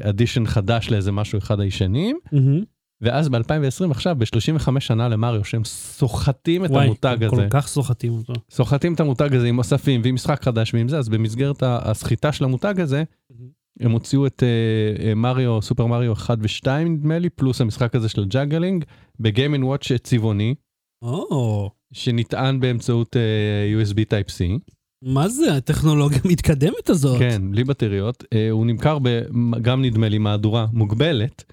אדישן חדש לאיזה משהו אחד הישנים, מהמם. ואז ב-2020 עכשיו, ב-35 שנה למריו, שהם סוחטים את וואי, המותג כל הזה. כך סוחטים אותו. סוחטים את המותג הזה עם אוספים ועם משחק חדש ועם זה, אז במסגרת ה- הסחיטה של המותג הזה, מהמם. הם הוציאו את אה, אה, מריו, סופר מריו 1 ו-2 נדמה לי, פלוס המשחק הזה של ג'אגלינג, בגיימינג וואץ' צבעוני, או, שנטען באמצעות אה, USB Type-C. מה זה הטכנולוגיה המתקדמת הזאת? כן, בלי בטריות. אה, הוא נמכר ב- גם נדמה לי מהדורה מוגבלת,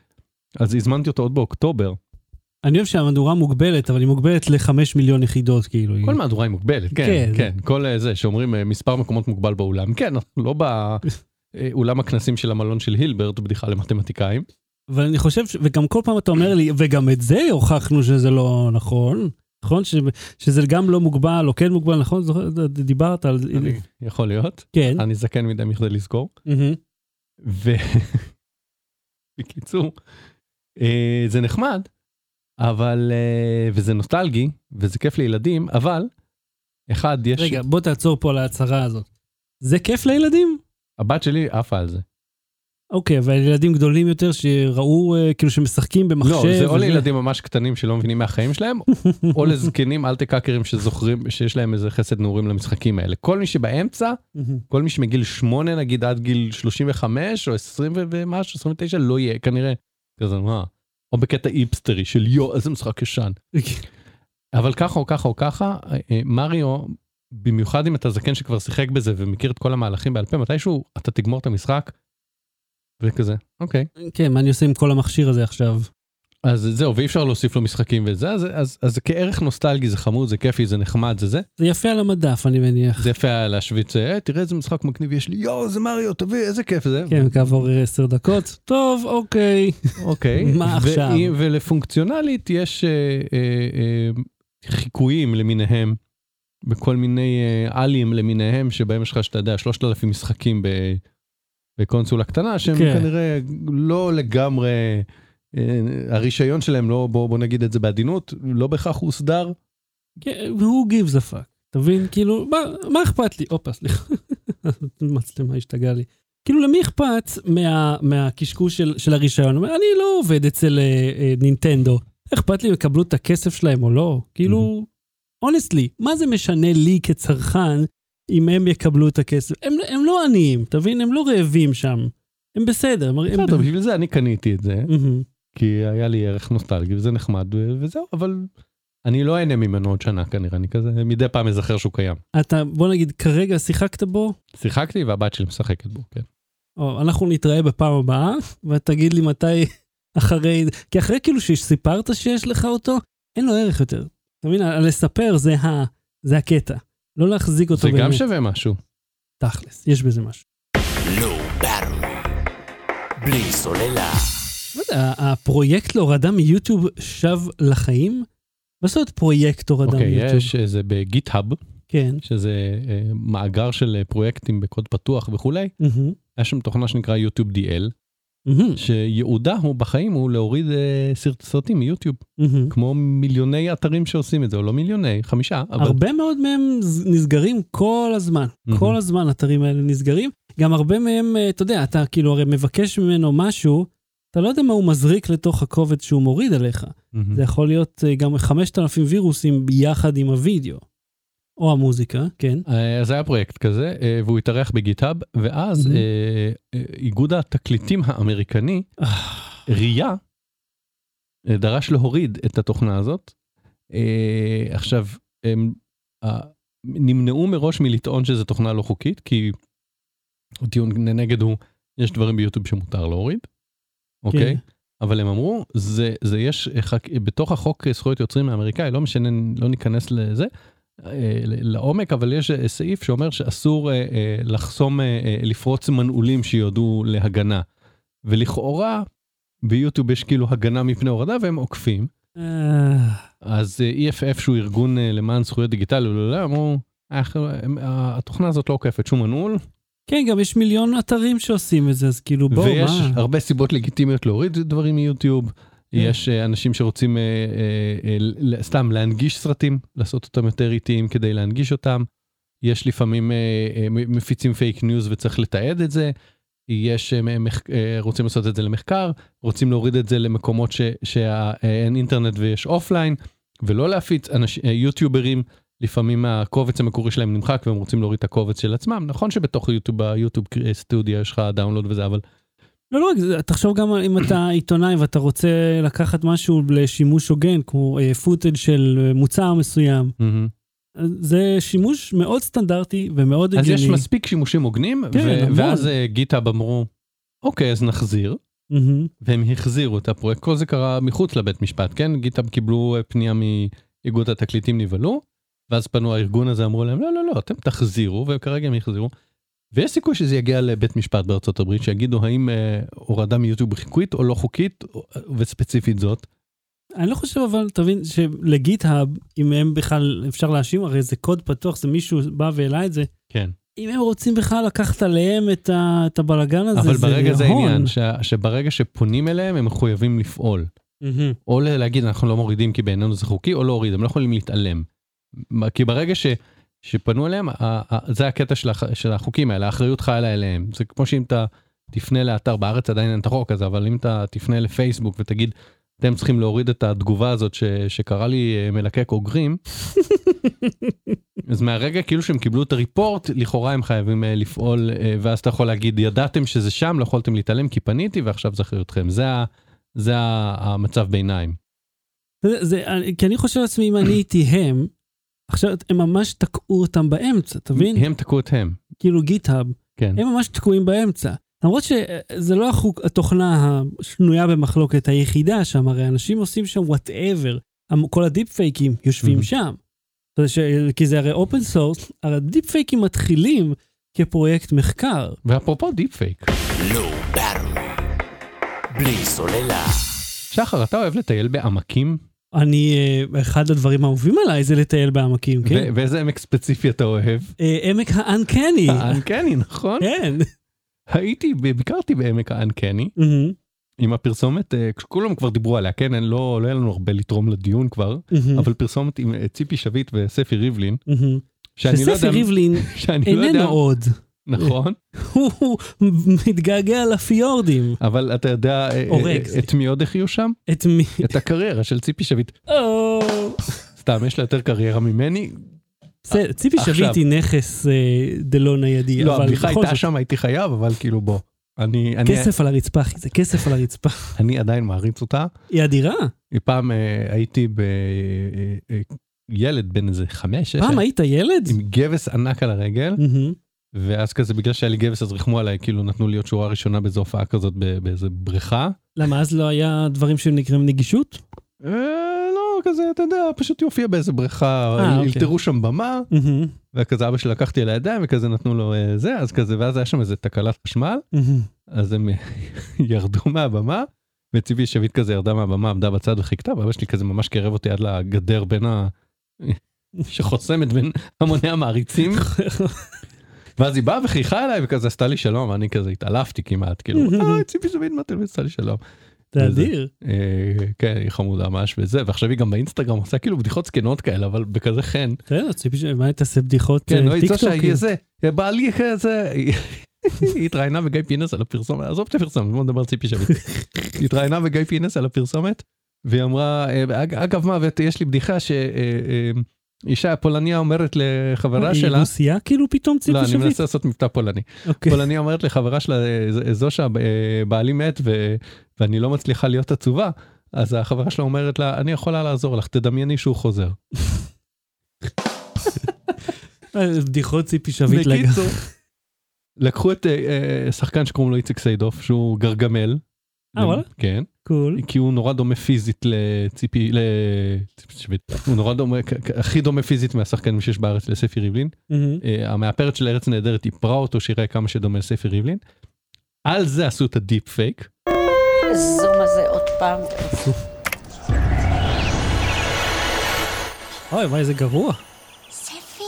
אז הזמנתי אותו עוד באוקטובר. אני אוהב שהמהדורה מוגבלת, אבל היא מוגבלת לחמש מיליון יחידות, כאילו. היא- כל מהדורה היא מוגבלת, כן. כן, כן. כל אה, זה שאומרים אה, מספר מקומות מוגבל באולם, כן, אנחנו לא באולם הכנסים של המלון של הילברט, בדיחה למתמטיקאים. אבל אני חושב, ש... וגם כל פעם אתה אומר לי, וגם את זה הוכחנו שזה לא נכון. נכון? ש... שזה גם לא מוגבל, או כן מוגבל, נכון? זוכר? ד- דיברת על זה. אני- יכול להיות, כן. אני זקן מדי מכדי לזכור. מהמם. ו- בקיצור, אה, זה נחמד, אבל, אה, וזה נוסטלגי, וזה כיף לילדים, אבל, אחד, יש... רגע, בוא תעצור פה על ההצהרה הזאת. זה כיף לילדים? הבת שלי עפה על זה. אוקיי, אבל ילדים גדולים יותר שראו, אה, כאילו, שמשחקים במחשב. לא, זה או וזה- לילדים ממש קטנים שלא מבינים מהחיים שלהם, או לזקנים אלטקאקרים שזוכרים שיש להם איזה חסד נעורים למשחקים האלה. כל מי שבאמצע, מהמם. כל מי שמגיל 8 נגיד עד גיל 35 או 20 ו- ומשהו, 29, לא יהיה כנראה כזה, מה? או בקטע איפסטרי של יו, איזה משחק ישן. אוקיי. אבל ככה או ככה או ככה, אה, אה, מריו, במיוחד אם אתה זקן שכבר שיחק בזה ומכיר את כל המהלכים בעל פה, מתישהו אתה תגמור את המשחק, וכזה, אוקיי. כן, מה אני עושה עם כל המכשיר הזה עכשיו? אז זהו, ואי אפשר להוסיף לו משחקים וזה, אז, אז, אז זה כערך נוסטלגי, זה חמוד, זה כיפי, זה נחמד, זה זה. זה יפה על המדף, אני מניח. זה יפה היה להשוויץ, "אה, תראה איזה משחק מגניב יש לי, יואו, זה מריו, תביא, איזה כיף זה. כן, כעבור עשר דקות. טוב, אוקיי. אוקיי. מה עכשיו? ואם- ולפונקציונלית יש אה, אה, אה, חיקויים למיניהם, בכל מיני אה, עלים למיניהם, שבהם יש לך, שאתה יודע, 3,000 משחקים ב, בקונסולה קטנה, שהם כן. כן. כנראה לא לגמרי, אה, הרישיון שלהם, לא, בוא, בוא נגיד את זה בעדינות, לא בהכרח הוסדר. כן, who gives a fuck, אתה מבין? כאילו, מה, מה אכפת לי? הופה, סליחה, המצלמה השתגעה לי. כאילו, למי אכפת מה, מהקשקוש של, של הרישיון? הוא אומר, אני לא עובד אצל אה, אה, נינטנדו, אכפת לי אם יקבלו את הכסף שלהם או לא? כאילו, אונסטלי, מה זה משנה לי כצרכן אם הם יקבלו את הכסף? הם, הם לא עניים, אתה מבין? הם לא רעבים שם. הם בסדר. הם, Mm-hmm. הם... בסדר, בשביל זה אני קניתי את זה, מהמם. כי היה לי ערך נוסטלגי וזה נחמד ו- וזהו, אבל אני לא אהנה ממנו עוד שנה כנראה, אני כזה מדי פעם אזכר שהוא קיים. אתה, בוא נגיד, כרגע שיחקת בו, שיחקתי והבת שלי משחקת בו, כן. או, אנחנו נתראה בפעם הבאה, ותגיד לי מתי אחרי, כי אחרי כאילו שסיפרת שיש לך אותו, אין לו ערך יותר. אתה מבין? ה- לספר זה, ה... זה הקטע. לא להחזיק אותו זה באמת. גם שווה משהו. תכלס, יש בזה משהו. Low Battery. לא, בלי סוללה. לא יודע, ה- הפרויקט להורדה מיוטיוב שב לחיים? מה זאת אומרת פרויקט הורדה אוקיי, מיוטיוב? יש איזה בגיט-האב, כן. שזה אה, מאגר של אה, פרויקטים בקוד פתוח וכולי, מהמם, היה שם תוכנה שנקרא יוטיוב DL, מהמם, שייעודה הוא בחיים הוא להוריד אה, סרט- סרטים מיוטיוב, מהמם. כמו מיליוני אתרים שעושים את זה, או לא מיליוני, חמישה, אבל... הרבה מאוד מהם ז- נסגרים כל הזמן. מהמם. כל הזמן האתרים האלה נסגרים. גם הרבה מהם, אה, אתה יודע, אתה כאילו הרי מבקש ממנו משהו, אתה לא יודע מה הוא מזריק לתוך הקובץ שהוא מוריד עליך. מהמם. זה יכול להיות אה, גם 5,000 וירוסים ביחד עם הוידאו. או המוזיקה, כן. אה, אז היה פרויקט כזה, אה, והוא התארח בגיט-האב, ואז מהמם. אה, אה, איגוד התקליטים האמריקני אה, ראייה אה, דרש להוריד את התוכנה הזאת. אה, עכשיו, הם אה, נמנעו מראש מלטעון שזו תוכנה לא חוקית, כי הטיעון נגד הוא, יש דברים ביוטיוב שמותר להוריד, כן. אוקיי? אבל הם אמרו, זה, זה יש, אה, חק, בתוך החוק אה, זכויות יוצרים האמריקאי, לא משנה, לא ניכנס לזה. אה, ל- לעומק אבל יש אה, סעיף שאומר שאסור אה, אה, לחסום אה, אה, לפרוץ מנעולים שיועדו להגנה ולכאורה ביוטיוב יש כאילו הגנה מפני הורדה והם עוקפים. אה, אז אה, EFF שהוא ארגון אה, למען זכויות דיגיטליות, לא יודע, אמרו, "אנחנו- הם- ה- התוכנה הזאת לא עוקפת שום מנעול, כן, גם יש מיליון אתרים שעושים את זה, אז כאילו, בואו, ויש מה? כן. הרבה סיבות לגיטימיות להוריד דברים מיוטיוב. יש אה, אנשים שרוצים אה, אה, אה, ל- סתם להנגיש סרטים, לעשות אותם יותר איטיים כדי להנגיש אותם. יש לפעמים אה, אה, מ- מפיצים פייק ניוז וצריך לתעד את זה. יש, אה, מח- אה, רוצים לעשות את זה למחקר, רוצים להוריד את זה למקומות ש- שאין אינטרנט ויש אופליין, ולא להפיץ אנש- אה, יוטיוברים. לפעמים הקובץ המקורי שלהם נמחק והם רוצים להוריד את הקובץ של עצמם. נכון שבתוך יוטיוב, היוטיוב סטודיו יש לך דאונלוד וזה, אבל לא, לא רק זה, תחשוב גם אם אתה עיתונאי ואתה רוצה לקחת משהו לשימוש הוגן, כמו פוטג' של אה, מוצר מסוים, Mm-hmm. זה שימוש מאוד סטנדרטי ומאוד אז הגיוני. יש מספיק שימושים הוגנים, כן, ו- המון. ואז אה, גיטאב אמרו, אוקיי, אז נחזיר, מהמם, והם החזירו את הפרויקט. כל זה קרה מחוץ לבית משפט, כן? גיטאב קיבלו אה, פנייה מאיגוד התקליטים נבהלו, ואז פנו הארגון הזה, אמרו להם, לא, לא, לא, אתם תחזירו, וכרגע הם החזירו. ויש סיכוי שזה יגיע לבית משפט בארצות הברית, שיגידו האם אה, הורדה מיוטיוב חיקוית או לא חוקית, או- וספציפית זאת. אני לא חושב אבל, תבין, שלגיט-האב, אם הם בכלל, אפשר להאשים, הרי זה קוד פתוח, זה מישהו בא והעלה את זה, כן. אם הם רוצים בכלל לקחת עליהם את, ה, את הבלגן הזה, אבל זה ברגע זה הון. העניין, שה- שברגע שפונים אליהם, הם מחויבים לפעול. מהמם, או ל- להגיד אנחנו לא מורידים כי בעינינו זה חוקי, או להוריד, הם לא יכולים להתעלם. מה- כי ברגע ש, שפנו אליהם, ה, ה, זה הקטע של, הח, של החוקים האלה, האחריות חלה אליהם. זה כמו שאם אתה תפנה לאתר, בארץ עדיין אין את החוק הזה, אבל אם אתה תפנה לפייסבוק ותגיד, אתם צריכים להוריד את התגובה הזאת ש, שקרא לי אה, מלקק אוגרים, אז מהרגע כאילו שהם קיבלו את הריפורט, לכאורה הם חייבים אה, לפעול, אה, ואז אתה יכול להגיד, ידעתם שזה שם, לא יכולתם להתעלם כי פניתי ועכשיו זה אחריותכם. זה, ה- זה ה- המצב ביניים. זה, זה, אני- כי אני חושב לעצמי, אם אני הייתי הם, עכשיו הם ממש תקעו אותם באמצע, תבין? הם תקעו את הם. כאילו גיט-האב, כן. הם ממש תקועים באמצע. למרות שזה לא החוק, התוכנה השנויה במחלוקת היחידה שם, הרי אנשים עושים שם וואטאבר. כל הדיפ פייקים יושבים Mhm. שם. אתה יודע ש- כי זה הרי אופן סורס, הרי הדיפ פייקים מתחילים כפרויקט מחקר. ואפרופו דיפ פייק, לואו ברור. בלי סוללה. שחר, אתה אוהב לטייל בעמקים? אני, אה, אחד הדברים האהובים עליי זה לטייל בעמקים, כן? ו- ואיזה עמק ספציפי אתה אוהב? אה, עמק האנקני. האנקני, נכון? כן. הייתי, ביקרתי בעמק האנקני, מהמם, עם הפרסומת, אה, כולם כבר דיברו עליה, כן? אין- לא לא היה לנו הרבה לתרום לדיון כבר, מהמם, אבל פרסומת עם אה, ציפי שביט וספי ריבלין, מהמם. שאני לא יודע... שספי ריבלין שאני לא יודע- איננו עוד. נכון, הוא מתגעגע לפיורדים. אבל אתה יודע אה, אה, הורג. אה, את מי עוד החיו שם? את מי? את הקריירה של ציפי שביט. או. סתם, יש לה יותר קריירה ממני. בסדר, ציפי עכשיו. שביט היא נכס אה, דלא ניידי, לא, אבל הבדיחה בכל הייתה זאת, שם, הייתי חייב, אבל כאילו בוא. אני, אני, כסף על הרצפה, אחי, זה כסף על הרצפה. אני עדיין מעריץ אותה. היא אדירה. פעם אה, הייתי ב... אה, אה, ילד בן איזה חמש, שש, פעם היית ילד? עם גבס ענק על הרגל, מהמם. ואז כזה בגלל שהיה לי גבס אז ריחמו עליי, כאילו נתנו לי עוד שורה ראשונה באיזו הופעה כזאת ב- באיזה בריכה. למה אז לא היה דברים שנקראים נגישות? אה, לא, כזה, אתה יודע, פשוט יופיע באיזה בריכה, אוקיי. ילתרו שם במה, מהמם, וכזה אבא שלי לקחתי על הידיים וכזה נתנו לו אה, זה, אז כזה, ואז היה שם איזה תקלת חשמל, מהמם. אז הם ירדו מהבמה, וציפי שביט כזה ירדה מהבמה, עמדה בצד וחיכתה, ואבא שלי כזה ממש קרב אותי עד לגדר בין ה... שחוסמת בין המוני המעריצים, ואז היא באה וחייכה אליי וכזה עשתה לי שלום, ואני כזה התעלפתי כמעט, כאילו, אה, ציפי שביט מהטלוויזיה עשתה לי שלום. זה וזה- אדיר. אה, כן, היא חמודה ממש וזה, ועכשיו היא גם באינסטגרם עושה כאילו בדיחות זקנות כאלה, אבל בכזה חן. בסדר, כן, ציפי שביט, מה היא תעשה בדיחות כן, לא אה, יצא שהיא טיקטוק? זה, בעלי זה, היא התראיינה בגיא פינס על הפרסומת, עזוב את הפרסומת, בוא נדבר על ציפי שביט. היא התראיינה בגיא פינס על הפרסומת, והיא אמרה, אה, אג- אגב מה, ואת- יש לי בדיחה שאישה פולניה אומרת לחברה היא שלה, רוסיה כאילו פתאום ציפי לא, אני שביט? מנסה לעשות מבטא פולני, אוקיי. פולניה אומרת לחברה שלה, אה, ז- זו שהבעלי מת ו- ואני לא מצליחה להיות עצובה, אז החברה שלה אומרת לה, אני יכולה לעזור לך, תדמייני שהוא חוזר. אה, בדיחות ציפי שביט לגמרי. בקיצור, לקחו את אה, אה, שחקן שקוראים לו איציק סיידוף שהוא גרגמל. אה, וואלה? כן. קול. כי הוא נורא דומה פיזית לציפי, לציפי שביט. הוא נורא דומה, כ- כ- הכי דומה פיזית מהשחקנים שיש בארץ לספי ריבלין. מהמם. אה, המאפרת של ארץ נהדרת איפרה אותו שיראה כמה שדומה לספי ריבלין. על זה עשו את הדיפ פייק. הזום הזה עוד פעם. אוי, וואי, זה גרוע. ספי?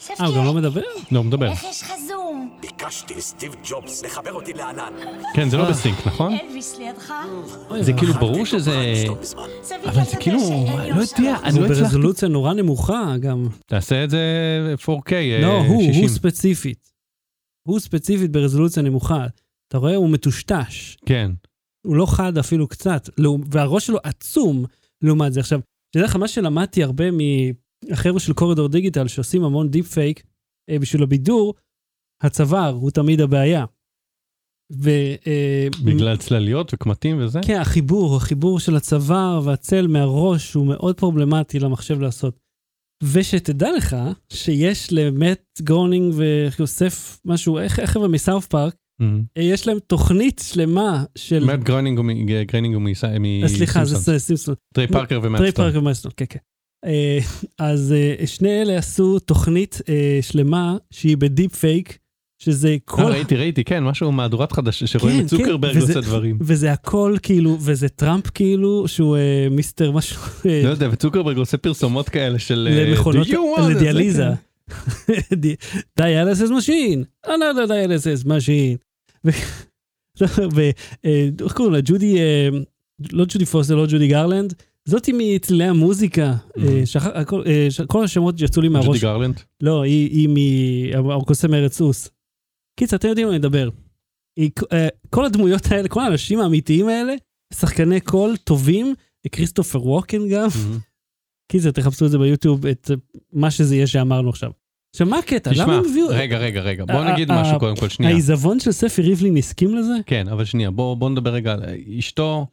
ספי, אה, הוא גם לא מדבר? לא, הוא מדבר. איך יש לך זום? ביקשתי סטיב ג'ובס לחבר אותי לענן. כן, זה לא אה. בסינק, נכון? אלוויס לידך? זה כאילו ברור שזה... ספי, אבל אתה זה כאילו, שאין לי לא אופציה. יודע, אני הוא לא הצלחתי. ברזולוציה נורא נמוכה גם. תעשה את זה 4K, אה, לא, הוא, 60. הוא ספציפית. הוא ספציפית ברזולוציה נמוכה. אתה רואה, הוא מטושטש. כן. הוא לא חד אפילו קצת, לעום- והראש שלו עצום לעומת זה. עכשיו, תדע לך, מה שלמדתי הרבה מהחבר'ה של קורידור דיגיטל, שעושים המון דיפ פייק אה, בשביל הבידור, הצוואר הוא תמיד הבעיה. ו... אה, בגלל צלליות וקמטים וזה? כן, החיבור, החיבור של הצוואר והצל מהראש הוא מאוד פרובלמטי למחשב לעשות. ושתדע לך שיש למט גרונינג ויוסף משהו, איך איך הם מסאוף פארק, Mhm. אה, יש להם תוכנית שלמה של... מאט גרנינג הוא מ- ג- גרנינג הוא מס- אה, סליחה, מסימפסונס. זה סימפסון. טריי פארקר ומאט טרי סטון. פארק ומאסטון, כן, כן. אה, אז אה, שני אלה עשו תוכנית אה, שלמה שהיא בדיפ פייק, שזה אה, כל... ראיתי ראיתי כן משהו מהדורת חדש שרואים כן, את צוקרברג כן, וזה- עושה דברים. וזה הכל כאילו, וזה טראמפ כאילו, שהוא אה, מיסטר משהו... אה, לא יודע וצוקרברג עושה פרסומות כאלה של אה, למכונות, "Do you want כן, it?" לדיאליזה. זה דיאליסיס משין, another דיאליסיס משין. לא, ואיך קוראים לה? ג'ודי, אה, לא ג'ודי פוסטר, לא ג'ודי גרלנד. זאתי מצלילי המוזיקה, אה, שכח- הכל- אה, ש- כל השמות יצאו לי כן. Mm-hmm. ג'ודי מהראש. גרלנד. לא, היא היא מ- הקוסם ארץ סוס. קיצר, אתם יודעים מה אני מדבר. היא- אה, כל הדמויות האלה, כל האנשים האמיתיים האלה, שחקני קול טובים, כריסטופר ווקן גם. קיצר, תחפשו את זה ביוטיוב, את מה שזה יהיה שאמרנו עכשיו. עכשיו, מה הקטע? למה תשמע הם הביאו... רגע רגע רגע בוא אה, נגיד אה, משהו קודם כל שנייה. העיזבון של ספי ריבלין הסכים לזה? כן אבל שנייה בוא בוא נדבר רגע על אה, אשתו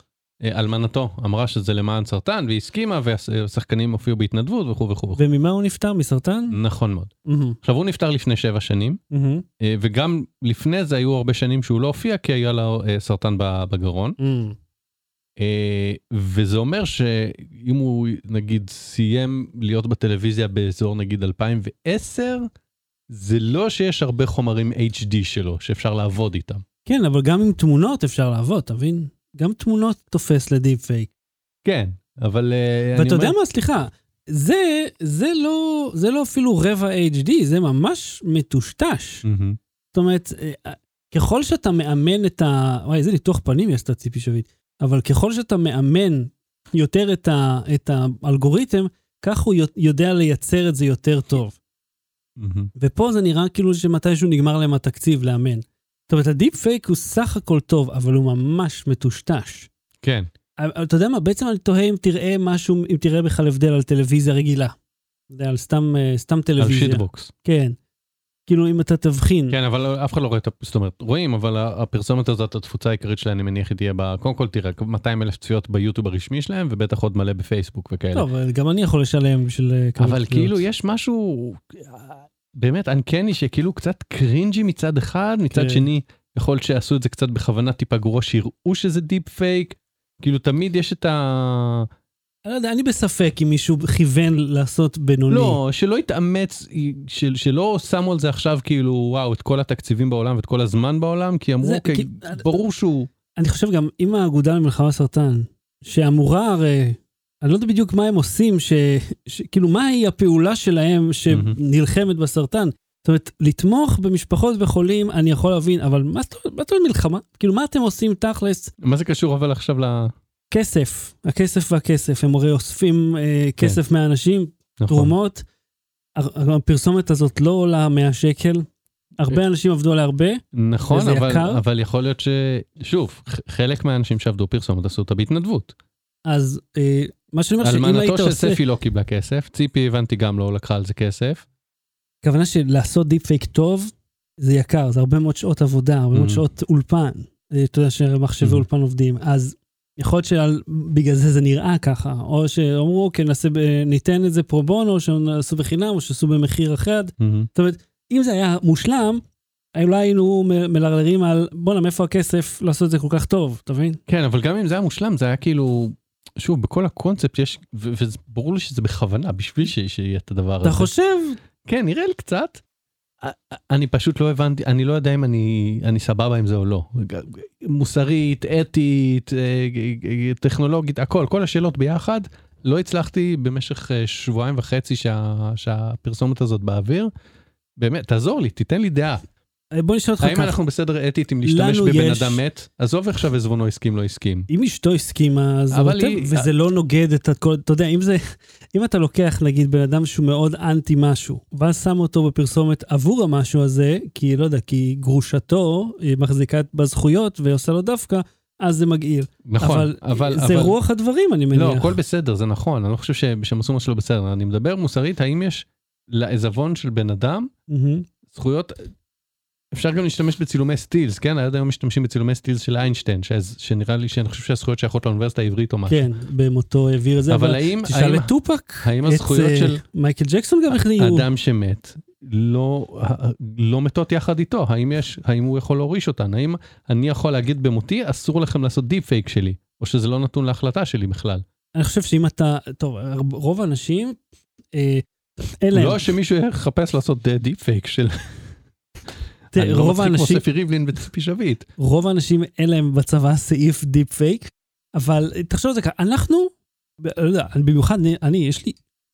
אה, אלמנתו אמרה שזה למען סרטן והיא הסכימה והשחקנים הופיעו בהתנדבות וכו' וכו'. וכו'. וממה הוא נפטר? מסרטן? נכון מאוד. מהמם, עכשיו הוא נפטר לפני שבע שנים מהמם, אה, וגם לפני זה היו הרבה שנים שהוא לא הופיע כי היה לו אה, סרטן ב- בגרון. מהמם. אה, וזה אומר שאם הוא נגיד סיים להיות בטלוויזיה באזור נגיד 2010, זה לא שיש הרבה חומרים HD שלו שאפשר לעבוד איתם. כן, אבל גם עם תמונות אפשר לעבוד, תבין? גם תמונות תופס לדיפ פייק. כן, אבל אה, אני ואתה יודע אומר- מה, סליחה, זה, זה לא, זה לא אפילו רבע HD, זה ממש מטושטש. מהמם. זאת אומרת, אה, ככל שאתה מאמן את ה... וואי, איזה ניתוח פנים היא עשתה ציפי שביט. אבל ככל שאתה מאמן יותר את, ה... את האלגוריתם, כך הוא י- יודע לייצר את זה יותר טוב. מהמם. ופה זה נראה כאילו שמתישהו נגמר להם התקציב לאמן. זאת אומרת, הדיפ פייק הוא סך הכל טוב, אבל הוא ממש מטושטש. כן, אבל- אבל אתה יודע מה, בעצם אני תוהה אם תראה משהו, אם תראה בכלל הבדל על טלוויזיה רגילה. אתה יודע, על סתם, אה, סתם על טלוויזיה. שיטבוקס. כן. כאילו, אם אתה תבחין. כן, אבל אף אחד לא רואה את ה... זאת אומרת, רואים, אבל ה- הפרסומת הזאת, התפוצה העיקרית שלה, אני מניח, היא תהיה ב... קודם כל, תראה, 200 אלף צפיות ביוטיוב הרשמי שלהם, ובטח עוד מלא בפייסבוק וכאלה. טוב, אבל גם אני יכול לשלם בשביל... אה, כמות אבל קריאות. כאילו יש משהו באמת אנקני שכאילו קצת קרינג'י מצד אחד, כן. מצד שני יכול שעשו את זה קצת בכוונה טיפה גרוע שיראו שזה דיפ פייק. כאילו תמיד יש את ה... אני לא יודע, אני בספק אם מישהו כיוון לעשות בינוני. לא, שלא התאמץ, של, שלא שמו על זה עכשיו כאילו וואו את כל התקציבים בעולם ואת כל הזמן בעולם, כי אמרו זה- אוקיי, כי- ברור שהוא... אני חושב גם, אם האגודה למלחמה בסרטן, שאמורה הרי... אני לא יודע בדיוק מה הם עושים, ש... ש... כאילו, מהי הפעולה שלהם שנלחמת בסרטן? זאת אומרת, לתמוך במשפחות וחולים, אני יכול להבין, אבל מה זאת מה זאת אומרת מלחמה? כאילו, מה אתם עושים תכלס? מה זה קשור אבל עכשיו ל... כסף, הכסף והכסף, הם הרי אוספים אה, כסף מהאנשים, כן. נכון. תרומות. הר- הפרסומת הזאת לא עולה 100 שקל. כן. הרבה אנשים עבדו עליה הרבה. נכון, וזה אבל, יקר? אבל יכול להיות ש... שוב, ח- חלק מהאנשים שעבדו פרסומות עשו אותה בהתנדבות. אז אה, מה שאני אומר, שאם היית אלמנתו של עושה... ספי לא קיבלה כסף, ציפי הבנתי גם לא לקחה על זה כסף. הכוונה שלעשות דיפ פייק טוב, זה יקר, זה הרבה מאוד שעות עבודה, הרבה מאוד Mhm. שעות אולפן. אה, אתה יודע שמחשבי Mhm. אולפן עובדים. אז יכול להיות שבגלל זה זה נראה ככה, או שאמרו, אוקיי, נעשה, ב- ניתן את זה פרו בונו, או שנעשו בחינם, או שעשו במחיר אחד. אם זה היה מושלם, אולי היינו מ- מלרלרים על, בואנה, מאיפה הכסף לעשות את זה כל כך טוב, אתה מבין? כן, אבל גם אם זה היה מושלם, זה היה כאילו, שוב, בכל הקונספט יש, ו- וברור לי שזה בכוונה, בשביל ש- שיהיה את הדבר הזה. אתה חושב, כן, נראה לי קצת. א- א- אני פשוט לא הבנתי, אני לא יודע אם אני, אני סבבה עם זה או לא. ג- מוסרית, אתית, אה, ג- ג- טכנולוגית, הכל, כל השאלות ביחד. לא הצלחתי במשך אה, שבועיים וחצי שה, שהפרסומת הזאת באוויר. באמת, תעזור לי, תיתן לי דעה. אה, בוא נשאל אותך האם ככה, אנחנו בסדר אתית אם להשתמש לנו בבן יש- אדם מת? עזוב עכשיו עזבונו הסכים לא הסכים. אם אשתו הסכימה, אז אבל אבל היא... היא- וזה לא נוגד את הכל, אתה יודע, אם זה, אם אתה לוקח נגיד בן אדם שהוא מאוד אנטי משהו, ואז שם אותו בפרסומת עבור המשהו הזה, כי לא יודע, כי גרושתו היא מחזיקה בזכויות ועושה לו דווקא, אז זה מגעיל. נכון, אבל... זה רוח הדברים, אני מניח. לא, הכל בסדר, זה נכון, אני לא חושב שהם- שהם עשו משהו לא בסדר. אני מדבר מוסרית, האם יש לעזבון של בן אדם מהמם. זכויות... אפשר גם להשתמש בצילומי סטילס, כן? עד היום משתמשים בצילומי סטילס של איינשטיין, ש... שנראה לי, שאני חושב שהזכויות שייכות לאוניברסיטה העברית או משהו. כן, במותו העביר את זה, אבל אבל האם... תשאל האם את טופק, האם את הזכויות אה, של- מייקל ג'קסון גם החליטו. אדם שמת לא, לא מתות יחד איתו, האם, יש, האם הוא יכול להוריש אותן? האם אני יכול להגיד במותי, אסור לכם לעשות דיפ פייק שלי, או שזה לא נתון להחלטה שלי בכלל? אני חושב שאם אתה, טוב, הרב- רוב האנשים, אה, אין להם, לא שמישהו יחפש לעשות אה, דיפ פייק של... תראה, אני לא רוב מצחיק כמו האנשים, ספי ריבלין וציפי שביט. רוב האנשים אין להם בצבא סעיף דיפ פייק, אבל תחשוב על זה ככה, אנחנו, ב- לא יודע, במיוחד אני- אני, יש לי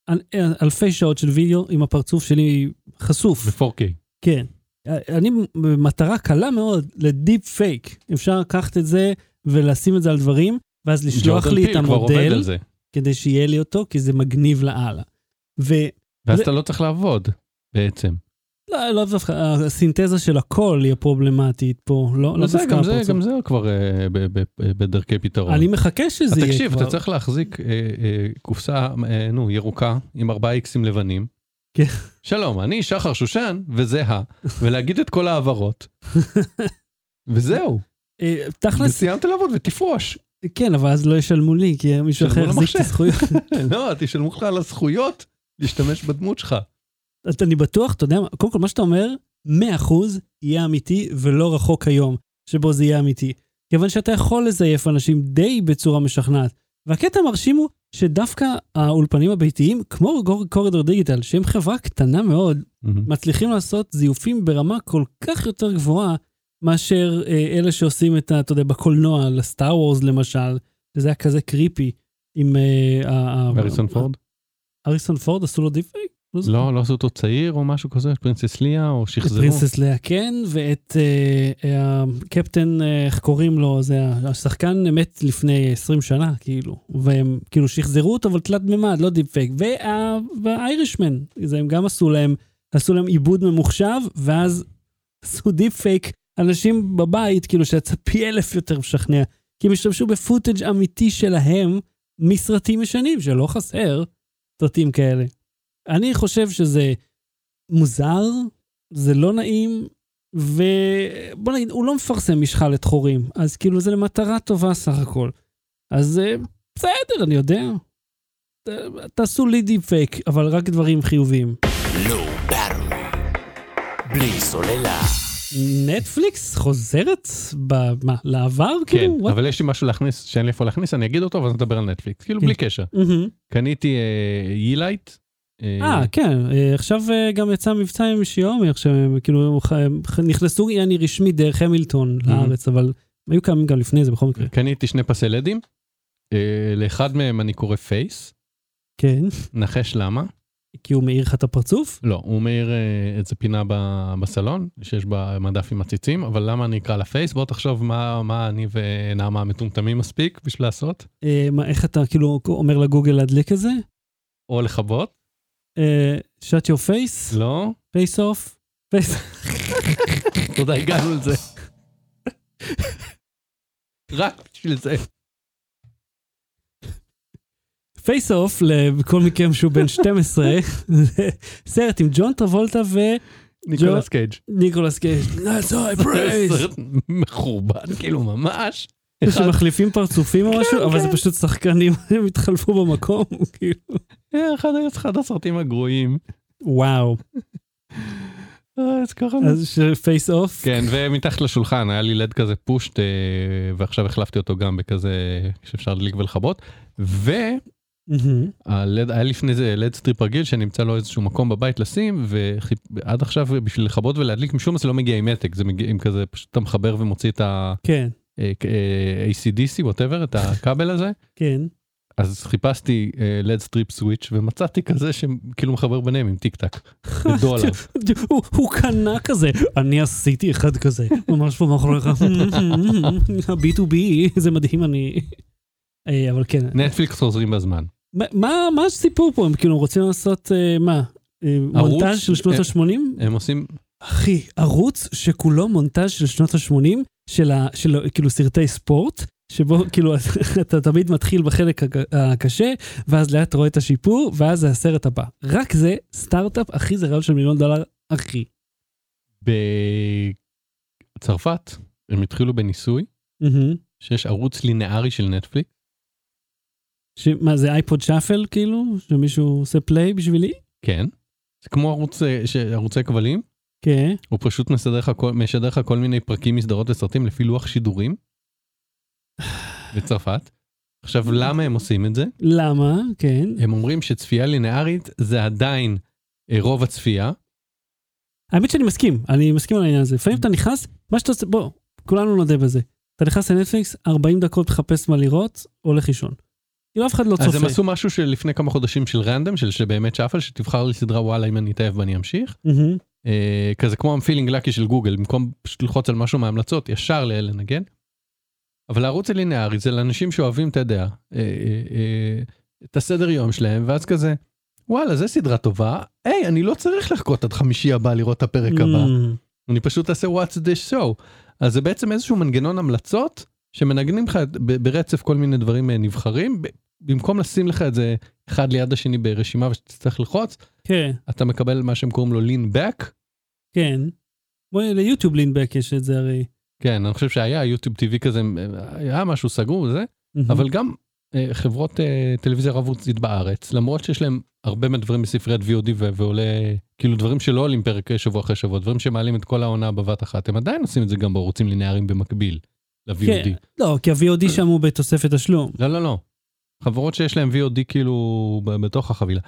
אל- אלפי שעות של וידאו עם הפרצוף שלי חשוף, ב-4K. כן. אני במטרה קלה מאוד לדיפ פייק, אפשר לקחת את זה ולשים את זה על דברים, ואז לשלוח ג'ורדן לי את פיל כבר עובד המודל, על זה. כדי שיהיה לי אותו, כי זה מגניב לאללה. ו... ואז זה- אתה לא צריך לעבוד בעצם. לא, לא דווקא, הסינתזה של הכל היא הפרובלמטית פה, לא, לא זה, דווקא גם זה, הפרצוף. גם זה כבר אה, ב- ב- ב- בדרכי פתרון. אני מחכה שזה אז יהיה אה, תקשיב, כבר. אתה צריך להחזיק אה, אה, קופסה, אה, נו, ירוקה, עם ארבעה איקסים לבנים. כן. שלום, אני שחר שושן, וזה ה, ולהגיד את כל ההעברות. וזהו, אה, תכלס, וסיימת לעבוד ותפרוש. כן, אבל אז לא ישלמו לי, כי מישהו ישלמו אחר יחזיק את למחשב. הזכויות. לא, תשלמו לך על הזכויות להשתמש בדמות שלך. אז אני בטוח, אתה יודע, מה, קודם כל, מה שאתה אומר, 100% יהיה אמיתי ולא רחוק היום שבו זה יהיה אמיתי. כיוון שאתה יכול לזייף אנשים די בצורה משכנעת. והקטע המרשים הוא שדווקא האולפנים הביתיים, כמו גור- קורידור דיגיטל, שהם חברה קטנה מאוד, Mm-hmm. מצליחים לעשות זיופים ברמה כל כך יותר גבוהה מאשר אה, אלה שעושים את ה... אתה יודע, בקולנוע, לסטאר וורס למשל, שזה היה כזה קריפי עם... אה, ה- ה- והריסון פורד? אריסון פורד עשו לו דיפייק? זוכר. לא, לא עשו אותו צעיר או משהו כזה, פרינסס ליה או את שחזרו. פרינסס לאה כן, ואת אה, אה, הקפטן, אה, איך קוראים לו, זה ה- השחקן מת לפני 20 שנה, כאילו, והם כאילו שחזרו אותו, אבל תלת מימד, לא דיפ פייק, וה- והאיירישמן, זה הם גם עשו להם, עשו להם עיבוד ממוחשב, ואז עשו דיפ פייק, אנשים בבית, כאילו, שיצא פי אלף יותר משכנע, כי הם השתמשו בפוטג' אמיתי שלהם, מסרטים ישנים, שלא חסר סרטים כאלה. אני חושב שזה מוזר, זה לא נעים, ובוא נגיד, הוא לא מפרסם משחלת חורים, אז כאילו זה למטרה טובה סך הכל. אז אה, בסדר, אני יודע. ת- תעשו לי דיפ פייק, אבל רק דברים חיוביים. לא ברם. בלי סוללה. נטפליקס חוזרת, ב- מה, לעבר? כן, כאילו, what? אבל יש לי משהו להכניס, שאין לי איפה להכניס, אני אגיד אותו ואז נדבר על נטפליקס, כאילו כן. בלי קשר. מהמם. קניתי אה, יילייט. אה, אה, כן, אה, עכשיו אה, גם יצא מבצע עם שיומי, עכשיו הם כאילו הם ח- הם ח- נכנסו, יעני רשמית דרך המילטון לארץ, אבל היו קמים גם לפני זה בכל מקרה. קניתי שני פסי לדים, אה, לאחד מהם אני קורא פייס, כן, נחש למה? כי הוא מאיר לך את הפרצוף? לא, הוא מאיר אה, איזה פינה ב- בסלון, שיש בה מדף עם עציצים, אבל למה אני אקרא לה פייס? בוא תחשוב מה מה אני ונעמה מטומטמים מספיק בשביל לעשות, אה, מה, איך אתה כאילו אומר לגוגל להדליק את זה? אה, או לכבות, שאט יור פייס? לא? פייס אוף? פייס... תודה, הגענו לזה. רק בשביל זה. פייס אוף, לכל מכם שהוא בן 12, זה סרט עם ג'ון טרבולטה ניקולס קייג'. וניקולס קייש. That's high praise! סרט מחורבן, כאילו ממש. אחד- כן, שמחליפים פרצופים או משהו, אבל זה פשוט שחקנים, הם התחלפו במקום, כאילו. אה, אחד אחד הסרטים הגרועים. וואו. אה, אז ככה. אז פייס אוף? כן, ומתחת לשולחן היה לי לד כזה פושט, אה, ועכשיו החלפתי אותו גם בכזה שאפשר להדליק ולכבות. והלד, היה לפני זה לד סטריפ רגיל שנמצא לו איזשהו מקום בבית לשים, ועד עכשיו בשביל לכבות ולהדליק משום מה זה לא מגיע עם מתק, זה מגיע עם כזה, פשוט אתה מחבר ומוציא את ה... כן, אה, אה, ACDC, ווטאבר, את הכבל הזה. כן. אז חיפשתי אה, לד סטריפ סוויץ' ומצאתי כזה שכאילו מחבר ביניהם עם טיק טק. בדולר. הוא- הוא קנה כזה, אני עשיתי אחד כזה, ממש פה מאחוריך, ה-B2B, זה מדהים, אני... אה, אבל כן, נטפליקס חוזרים בזמן. מה- מה מה הסיפור פה? הם כאילו רוצים לעשות, אה, מה? אה, ערוץ? מונטאז' של שנות אה. ה-80? הם עושים, אחי, ערוץ שכולו מונטאז' של שנות ה-80, של ה- של ה- כאילו סרטי ספורט, שבו כאילו אתה תמיד מתחיל בחלק הק- הקשה, ואז לאט רואה את השיפור, ואז זה הסרט הבא. רק זה סטארט-אפ, אחי, זה רעיון של מיליון דולר, אחי. בצרפת הם התחילו בניסוי מהמם. שיש ערוץ לינארי של נטפליקס. שמה זה אייפוד שאפל כאילו? שמישהו עושה פליי בשבילי? כן. זה כמו ערוץ, אה, ש- ערוצי כבלים, כן. הוא פשוט מסדר לך כל- משדר לך כל מיני פרקים מסדרות וסרטים לפי לוח שידורים. בצרפת. עכשיו למה הם עושים את זה? למה? כן. הם אומרים שצפייה לינארית זה עדיין אה, רוב הצפייה. האמת שאני מסכים, אני מסכים על העניין הזה. לפעמים אתה נכנס, מה שאתה עושה, בוא, כולנו נודה בזה. אתה נכנס לנטפליקס, 40 דקות מחפש מה לראות, הולך לישון. כאילו אף אחד לא אז הם צופה. עשו משהו שלפני כמה חודשים של רנדום של שבאמת שאפל שתבחר לי סדרה וואלה אם אני אתאהב בה אני אמשיך מהמם. אה, כזה כמו המפילינג לקי של גוגל במקום פשוט ללחוץ על משהו מההמלצות ישר לאלה נגן. אבל הערוץ הלינארי זה לאנשים שאוהבים אתה יודע אה, אה, אה, את הסדר יום שלהם ואז כזה וואלה זה סדרה טובה היי אני לא צריך לחכות עד חמישי הבא לראות את הפרק הבא מהמם. אני פשוט אעשה what's this show אז זה בעצם איזשהו מנגנון המלצות שמנגנים לך את- ב- ברצף כל מיני דברים אה, נבחרים ב- במקום לשים לך את זה אחד ליד השני ברשימה ושתצטרך ללחוץ כן, אתה מקבל מה שהם קוראים לו lean back כן. בואי ליוטיוב לינבק יש את זה הרי. כן אני חושב שהיה יוטיוב טיווי כזה אה, היה משהו סגור זה Mhm. אבל גם אה, חברות אה, טלוויזיה רב-ערוצית בארץ, למרות שיש להם הרבה מהדברים בספריית VOD ו- ועולה, כאילו דברים שלא עולים פרק שבוע אחרי שבוע, דברים שמעלים את כל העונה בבת אחת, הם עדיין עושים את זה גם בערוצים לינאריים במקביל ל-VOD. כן, לא, כי ה-VOD שם הוא בתוספת תשלום. לא, לא, לא. חברות שיש להם VOD כאילו ב- בתוך החבילה.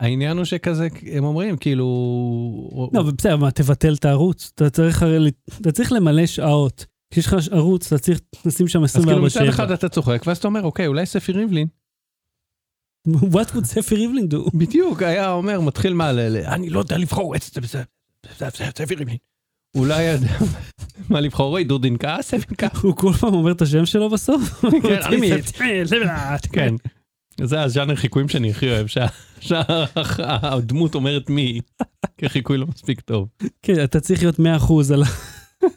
העניין הוא שכזה, הם אומרים כאילו... לא, אבל בסדר, מה, תבטל את הערוץ? אתה צריך הרי, ל- אתה צריך למלא שעות. כשיש לך ערוץ, אתה צריך לשים שם אז כאילו מצד 24 אחד אתה צוחק, ואז אתה אומר, אוקיי, אולי ספי ריבלין What would ספי ריבלין do? בדיוק, היה אומר, מתחיל מה, ל- ל- אני לא יודע לבחור, את- זה- זה- זה- זה- ספי ריבלין. אולי ידע מה לבחור, אוי, דודין כעס, ספי כעס, הוא כל פעם אומר את השם שלו בסוף? כן, אני מצמיד, ספי- מצמיד, לבלעת. כן. זה הז'אנר חיקויים שאני הכי אוהב, שה- שהדמות אומרת מי, כחיקוי לא מספיק טוב. כן, אתה צריך להיות 100% על ה...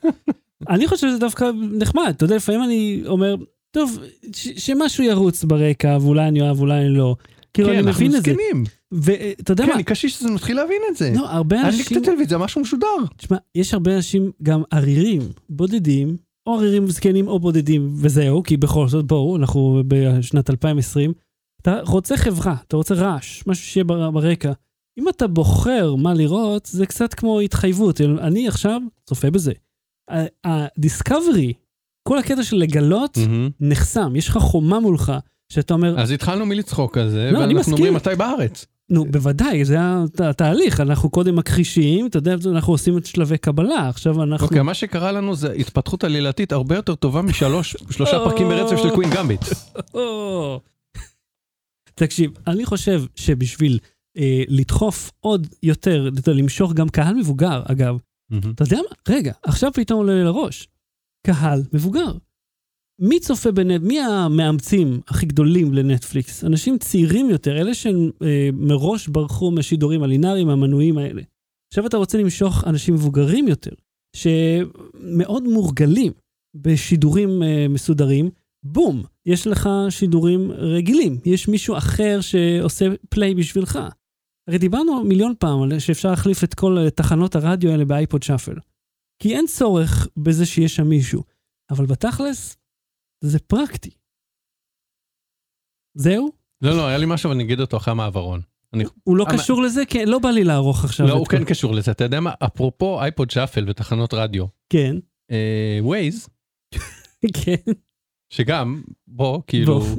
אני חושב שזה דווקא נחמד, אתה יודע, לפעמים אני אומר, טוב, ש- שמשהו ירוץ ברקע, ואולי אני אוהב, אולי אני לא. כאילו, כן, אני אנחנו מבין את זה. זקנים. ואתה יודע כן, מה, אני קשיש, אז אני מתחיל להבין את זה. לא, הרבה אני אנשים, קצת טלוויזיה, משהו משודר. תשמע, יש הרבה אנשים גם עריריים, בודדים, או עריריים זקנים או בודדים, וזהו, כי בכל זאת, בואו, אנחנו בשנת 2020, אתה רוצה חברה, אתה רוצה רעש, משהו שיהיה בר- ברקע. אם אתה בוחר מה לראות, זה קצת כמו התחייבות, אני עכשיו צופה בזה. ה- הדיסקאברי, כל הקטע של לגלות, Mm-hmm. נחסם, יש לך חומה מולך, שאתה אומר, אז התחלנו מלצחוק על זה, לא, אני ואנחנו מסכים. אומרים מתי בארץ. נו, בוודאי, זה הת- התהליך, אנחנו קודם מכחישים, אתה יודע, אנחנו עושים את שלבי קבלה, עכשיו אנחנו... אוקיי, מה שקרה לנו זה התפתחות עלילתית הרבה יותר טובה משלוש, שלושה פרקים ברצף של קווין גמביט. או. תקשיב, אני חושב שבשביל אה, לדחוף עוד יותר, אתה יודע, למשוך גם קהל מבוגר, אגב, אתה יודע מה? רגע, עכשיו פתאום עולה לי לראש. קהל מבוגר. מי צופה בנט... מי המאמצים הכי גדולים לנטפליקס? אנשים צעירים יותר, אלה שהם אה, מראש ברחו מהשידורים הלינאריים, המנויים האלה. עכשיו אתה רוצה למשוך אנשים מבוגרים יותר, שמאוד מורגלים בשידורים אה, מסודרים, בום, יש לך שידורים רגילים, יש מישהו אחר שעושה פליי בשבילך. הרי דיברנו מיליון פעם על שאפשר להחליף את כל אה, תחנות הרדיו האלה באייפוד שאפל. כי אין צורך בזה שיש שם מישהו. אבל בתכלס, זה פרקטי. זהו? לא, לא, היה לי משהו, אבל אני אגיד אותו אחרי המעברון. הוא לא אבל- קשור לזה? כן, לא בא לי לערוך עכשיו. לא, את הוא כל- כן קשור לזה. אתה יודע מה? אפרופו אייפוד שאפל ותחנות רדיו, כן, אה, Waze, כן. שגם, בוא, כאילו, בוא.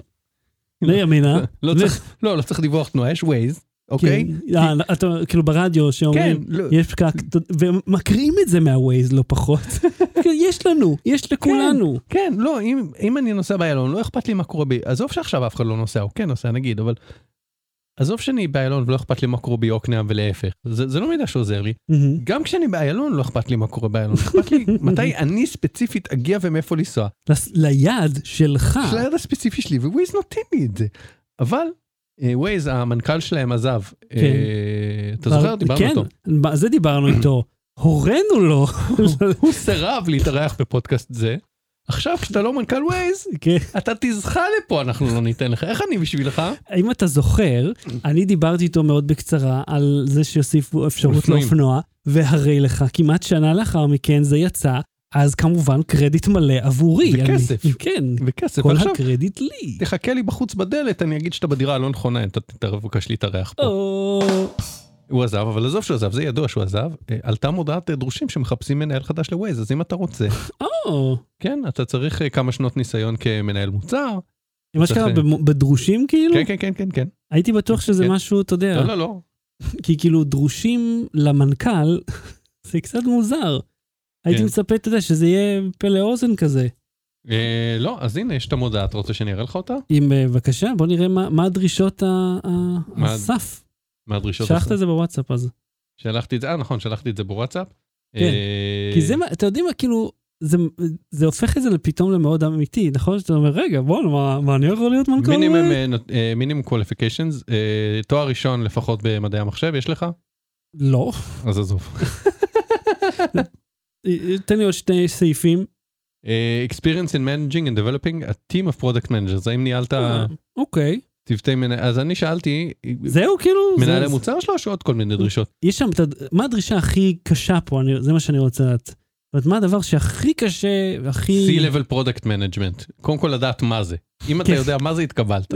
לימינה. לא צריך- לא, לא צריך דיווח תנועה, יש Waze, אוקיי? כן. אה, אתה כאילו ברדיו כן, שאומרים, לא, יש פקק, ומקריאים את זה מהווייז לא פחות. כן, יש לנו, יש לכולנו. כן, לא, אם, אם אני נוסע באיילון, לא אכפת לי מה קורה בי. עזוב שעכשיו אף אחד לא נוסע, או כן נוסע נגיד, אבל... עזוב שאני באיילון ולא אכפת לי מה קורה ביוקנעם ולהפך. זה, זה לא מידע שעוזר לי. מהמם. גם כשאני באיילון לא אכפת לי מה קורה באיילון, אכפת לי מתי אני ספציפית אגיע ומאיפה לנסוע. לס- ליעד שלך. של היד הספציפי שלי, וווייז נותן לי את זה. אבל אה, ווייז, המנכ"ל שלהם עזב. אה, כן. אתה זוכר? אבל- דיברנו איתו. כן, מה- זה דיברנו איתו. הורינו לו. הוא סירב להתארח בפודקאסט זה. עכשיו כשאתה לא מנכ"ל ווייז, כן. אתה תזכה לפה, אנחנו לא ניתן לך. איך אני בשבילך? אם אתה זוכר, אני דיברתי איתו מאוד בקצרה על זה שיוסיפו אפשרות אופנועים. לאופנוע, והרי לך, כמעט שנה לאחר מכן זה יצא, אז כמובן קרדיט מלא עבורי. וכסף. אני- כן, וכסף. כל ועכשיו הקרדיט לי. תחכה לי בחוץ בדלת, אני אגיד שאתה בדירה הלא נכונה, אתה תתערב, בבקשה להתארח פה. או, הוא עזב, אבל עזוב שהוא עזב, זה ידוע שהוא עזב. אה, עלתה מודעת אה, דרושים שמחפשים מנהל חדש לווייז, אז אם אתה רוצה, או. כן, אתה צריך אה, כמה שנות ניסיון כמנהל מוצר. מה שקרה צריך- במ- בדרושים כאילו? כן, כן, כן, כן, כן. הייתי בטוח שזה כן. משהו, אתה יודע, לא, לא, לא. כי כאילו דרושים למנכ"ל, זה קצת מוזר. הייתי כן. מצפה, אתה יודע, שזה יהיה פלא אוזן כזה. אה, לא, אז הנה, יש את המודעה, אתה רוצה שאני אראה לך אותה? אם אה, בבקשה, בוא נראה מה מה הדרישות ה- ה- מה- הסף. מה הדרישות? שלחת הסף? את זה בוואטסאפ אז. שלחתי את זה, אה, נכון, שלחתי את זה בוואטסאפ. כן, אה, כי זה, מה- אתה יודעים מה, כאילו, זה, זה הופך את זה לפתאום למאוד אמיתי, נכון? שאתה אומר, רגע, בואנה, מה, מה אני יכול להיות מנכ"ל? מינימום, אה, נות- אה, מינימום קוליפיקיישנס, אה, תואר ראשון לפחות במדעי המחשב, יש לך? לא. אז עזוב. אה, תן לי עוד שני סעיפים. אה, Experience in managing and developing a team of product managers, האם ניהלת אה, אוקיי. צוותי מנהל, אז אני שאלתי, אה, זהו, כאילו, זה- מנהלי זה- מוצר שלו או עוד כל מיני דרישות? יש שם, את הד- מה הדרישה הכי קשה פה, אני, זה מה שאני רוצה לדעת. זאת אומרת, מה הדבר שהכי קשה והכי... C-Level Product Management. קודם כל לדעת מה זה. אם אתה כן. יודע מה זה, התקבלת.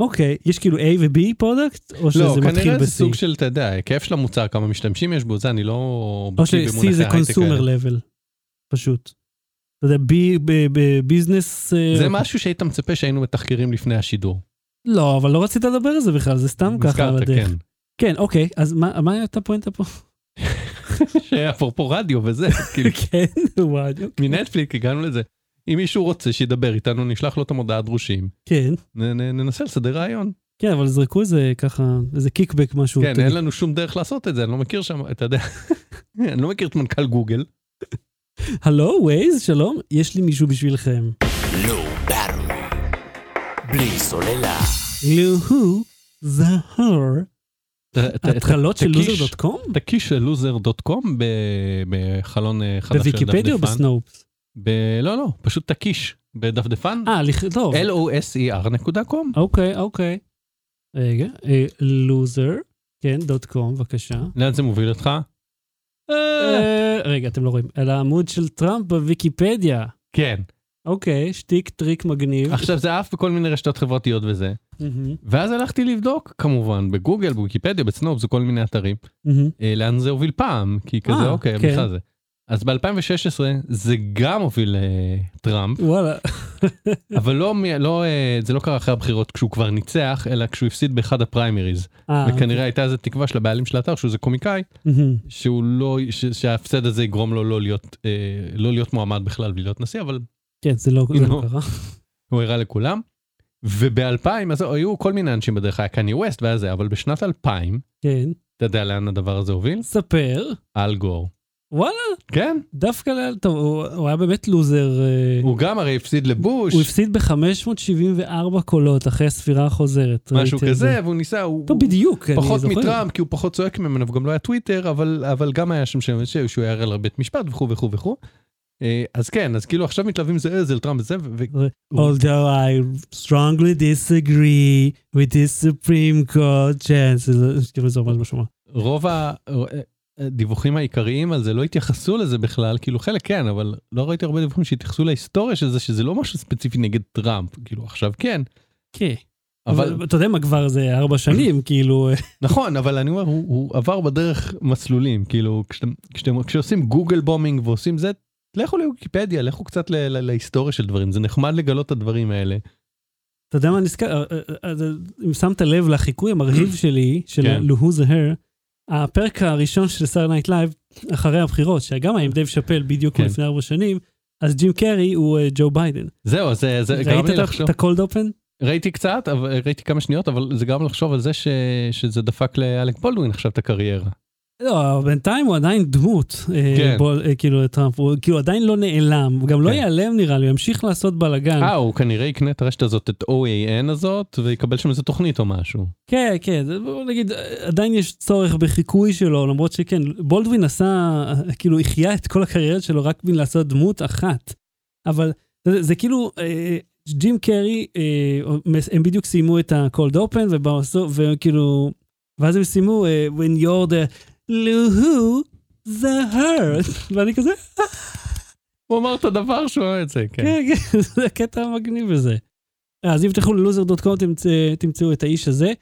אוקיי, יש כאילו A ו-B פרודקט? או שזה לא, מתחיל כנראה זה ב-C? סוג של, אתה יודע, היקף של המוצר, כמה משתמשים יש בו, זה אני לא... או בקיא ש-C במונחי זה הייטק קונסומר האלה. לבל, פשוט. אתה יודע, B אה, בביזנס... זה משהו שהיית מצפה שהיינו מתחקרים לפני השידור. לא, אבל לא רצית לדבר על זה בכלל, זה סתם ככה על הזכרת, הדרך. כן. כן, אוקיי, אז מה מה הייתה הפואנטה פה? שאפרופו רדיו וזה, כאילו, כן, וואי, אוקיי. מנטפליק הגענו לזה. אם מישהו רוצה שידבר איתנו, נשלח לו את המודעה הדרושים, כן, נ- נ- ננסה לסדר רעיון. כן, אבל זרקו איזה ככה, איזה קיקבק משהו. כן, אתה אין יודע. לנו שום דרך לעשות את זה, אני לא מכיר שם, אתה יודע, אני לא מכיר את מנכ"ל גוגל. הלו, ווייז, שלום, יש לי מישהו בשבילכם. Low Battery. בלי סוללה. לוהו זהר. התחלות של תקיש. לוזר דוט קום? תקיש לוזר דוט קום בחלון אה, חדש של בוויקיפדיה או דפדפן. בסנופס? ב- לא, לא, פשוט תקיש בדפדפן. אה, לכ- טוב. loser E נקודה קום. אוקיי, אוקיי. רגע, אה, לוזר, כן, דוט קום, בבקשה. לאן זה מוביל אותך? אה, רגע, אתם לא רואים. על העמוד של טראמפ בוויקיפדיה. כן. אוקיי, שטיק טריק מגניב. עכשיו זה עף בכל מיני רשתות חברתיות וזה. מהמם, ואז הלכתי לבדוק כמובן בגוגל בוויקיפדיה בסנופס וכל מיני אתרים מהמם. אה, לאן זה הוביל פעם כי כזה אה, אוקיי כן. בכלל זה. אז ב2016 זה גם הוביל לטראמפ וואלה. אבל לא מ- לא אה, זה לא קרה אחרי הבחירות כשהוא כבר ניצח אלא כשהוא הפסיד באחד הפריימריז אה, וכנראה הייתה איזה תקווה של הבעלים של האתר שהוא איזה קומיקאי מהמם. שהוא לא ש- שההפסד הזה יגרום לו לא להיות אה, לא להיות מועמד בכלל ולהיות נשיא אבל כן, זה לא זה לא נו. קרה. הוא הראה לכולם. וב-2000 אז היו כל מיני אנשים בדרך היה קניה ווסט והיה זה אבל בשנת 2000 כן. אתה יודע לאן הדבר הזה הוביל? ספר. אל גור. וואלה, כן, דווקא, ל- טוב, הוא- הוא היה באמת לוזר. אה, הוא גם הרי הפסיד לבוש, הוא הפסיד ב-574 קולות אחרי הספירה החוזרת. משהו ראיתי את אה, זה. כזה, והוא ניסה, הוא טוב, הוא בדיוק, אני פחות זוכר. מטראמפ כי הוא פחות צועק ממנו וגם לא היה טוויטר, אבל אבל גם היה שם שם שהוא שהוא היה לבית משפט וכו' וכו' וכו'. אה, אז כן, אז כאילו עכשיו מתלווים זה איזה טראמפ זה, ו- ו- Although I strongly disagree with this Supreme Court chancellor, כאילו זה ממש משהו. מה. רוב הדיווחים העיקריים על זה לא התייחסו לזה בכלל, כאילו חלק כן, אבל לא ראיתי הרבה דיווחים שהתייחסו להיסטוריה של זה, שזה לא משהו ספציפי נגד טראמפ, כאילו עכשיו כן, כן. אבל אבל אתה יודע מה כבר זה ארבע שנים, כאילו, נכון, אבל אני אומר, הוא, הוא עבר בדרך מסלולים, כאילו, כשאתם, כשאתם, כשעושים גוגל בומינג ועושים זה, לכו לוויקיפדיה, לכו קצת ל, ל, להיסטוריה של דברים, זה נחמד לגלות את הדברים האלה. אתה יודע מה נזכר, אה, אה, אה, אם שמת לב לחיקוי המרהיב שלי, של כן. לוהו זה הר, הפרק הראשון של סאר נייט לייב, אחרי הבחירות, שגם היה עם דייב שאפל בדיוק כן. לפני ארבע שנים, אז ג'ים קרי הוא אה, ג'ו ביידן. זהו, זה, זה גרם ראית לי את ה- לחשוב, את הקולד אופן? ראיתי קצת, אבל, ראיתי כמה שניות, אבל זה גרם לחשוב על זה ש, שזה דפק לאלק בולדווין עכשיו את הקריירה. לא, בינתיים הוא עדיין דמות, אה, כן. בול- אה, כאילו טראמפ, הוא כאילו עדיין לא נעלם, הוא גם לא כן. ייעלם נראה לי, הוא ימשיך לעשות בלאגן. אה, הוא כנראה יקנה את הרשת הזאת, את OAN הזאת, ויקבל שם איזה תוכנית או משהו. כן, כן, זה- בוא נגיד, אה, עדיין יש צורך בחיקוי שלו, למרות שכן, בולדווין עשה, אה, כאילו, החיה את כל הקריירה שלו רק בין לעשות דמות אחת. אבל זה, זה כאילו, אה, ג'ים קרי, אה, הם בדיוק סיימו את ה-cold open, ובסוף, וכאילו, ואז הם סיימו, אה, when you're the לוהו, זה hurt, ואני כזה, הוא אמר את הדבר שהוא אמר את זה, כן. כן, כן, זה הקטע המגניב הזה. אז אם תלכו ללוזר דוט קום תמצאו את האיש הזה.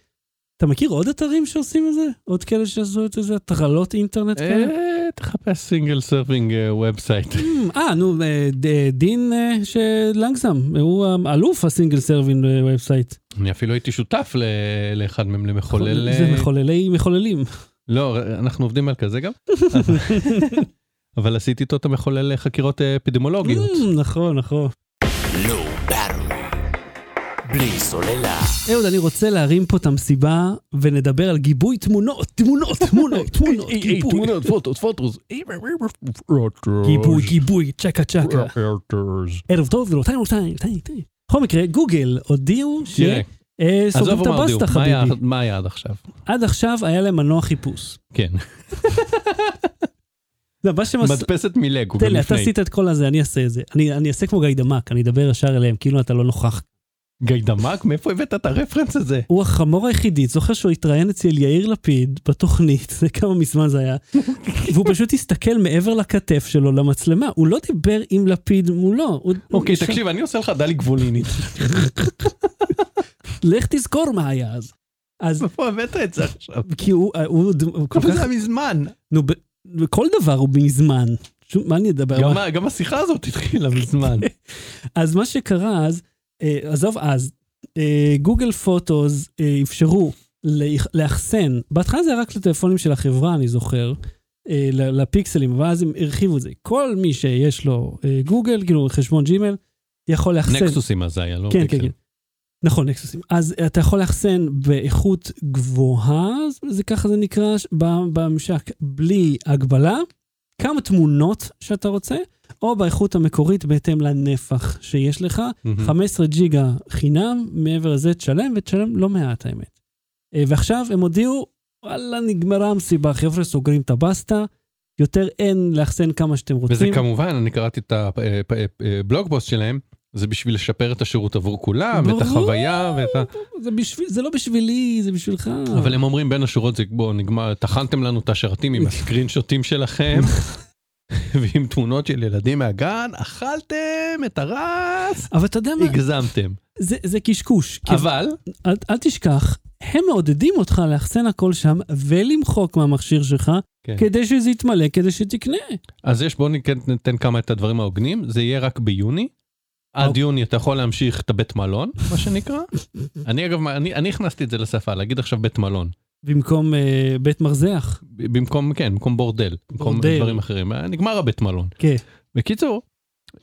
אתה מכיר עוד אתרים שעושים את זה? עוד כאלה שעשו את איזה הטרלות אינטרנט כאלה? אה, תחפש סינגל סרווינג ובסייט. אה, נו, אה, ד- אה, דין אה, שלנגסם, הוא האלוף הסינגל סרווין וובסייט. אני אפילו הייתי שותף ל- לאחד מהם, למחולל... זה אה, מחוללי מחוללים. לא, אנחנו עובדים על כזה גם. אבל- אבל עשיתי איתו את המחולל חקירות אה, אפידמולוגיות. Mm, נכון, נכון. Low Battery. בלי סוללה. אהוד, אני רוצה להרים פה את המסיבה ולדבר על גיבוי תמונות, תמונות, תמונות, אוקיי, תמונות, גיבוי. פוטוס, פוטוס. גיבוי, גיבוי, צ'קה צ'קה. ערב טוב, זה לא טיים, טיים, טיים, טיים. בכל מקרה, גוגל הודיעו תראה, שסוגרים עזוב את אמרתי, הבסטה מה היה- חביבי. מה היה עד עכשיו? עד עכשיו היה להם מנוע חיפוש. כן, זה מה שמס... מדפסת מלגו תן לי, אתה לפני. עשית את כל הזה, אני אעשה את זה. אני אני אעשה כמו גיא דמק, אני אדבר ישר אליהם, כאילו אתה לא נוכח. גיידמק? מאיפה הבאת את הרפרנס הזה? הוא החמור היחידי, זוכר שהוא התראיין אצל יאיר לפיד בתוכנית, זה כמה מזמן זה היה, והוא פשוט הסתכל מעבר לכתף שלו למצלמה, הוא לא דיבר עם לפיד מולו. הוא- אוקיי, הוא ש- תקשיב, אני עושה לך דלי גבולינית. לך תזכור מה היה אז. אז מאיפה הבאת את זה עכשיו? כי הוא, הוא, הוא כל אבל זה כך, היה מזמן. נו, ב- בכל דבר הוא מזמן. שום- מה אני אדבר? גם מה- ה- גם השיחה הזאת התחילה מזמן. אז מה שקרה אז, אה, עזוב אז, אה, גוגל פוטוס אה, אפשרו לאח- לאחסן, בהתחלה זה היה רק לטלפונים של החברה, אני זוכר, אה, ל- לפיקסלים, אבל אז הם הרחיבו את זה. כל מי שיש לו אה, גוגל, כאילו חשבון ג'ימל, יכול לאחסן. נקסוסים אז זה היה, לא? כן, כן, פיקסל. כן. נכון, נקסוסים. אז אתה יכול לאחסן באיכות גבוהה, זה ככה זה נקרא, ש- ב- בממשק, בלי הגבלה, כמה תמונות שאתה רוצה, או באיכות המקורית בהתאם לנפח שיש לך. מהמם. 15 ג'יגה חינם, מעבר לזה תשלם, ותשלם לא מעט האמת. אה, ועכשיו הם הודיעו, וואלה, נגמרה המסיבה, חבר'ה, סוגרים את הבסטה, יותר אין לאחסן כמה שאתם רוצים. וזה כמובן, אני קראתי את אה, הבלוג פוסט שלהם, זה בשביל לשפר את השירות עבור כולם, ואת ברור. החוויה, ואת ה... זה, בשביל, זה לא בשבילי, זה בשבילך. אבל הם אומרים בין השורות זה בוא נגמר טחנתם לנו את השרתים עם הסקרין שוטים שלכם ועם תמונות של ילדים מהגן אכלתם את הרס אבל אתה יודע מה, הגזמתם זה, זה קשקוש. כי- אבל אל, אל תשכח, הם מעודדים אותך לאחסן הכל שם ולמחוק מהמכשיר שלך, כן. כדי שזה יתמלא, כדי שתקנה. אז יש בוא ניתן- ניתן כמה את הדברים ההוגנים זה יהיה רק ביוני. עד אוקיי. יוני אתה יכול להמשיך את הבית מלון מה שנקרא אני אגב אני אני הכנסתי את זה לשפה להגיד עכשיו בית מלון במקום אה, בית מרזח. ב- במקום כן במקום בורדל במקום בורדל. דברים אחרים אה, נגמר הבית מלון כן. בקיצור.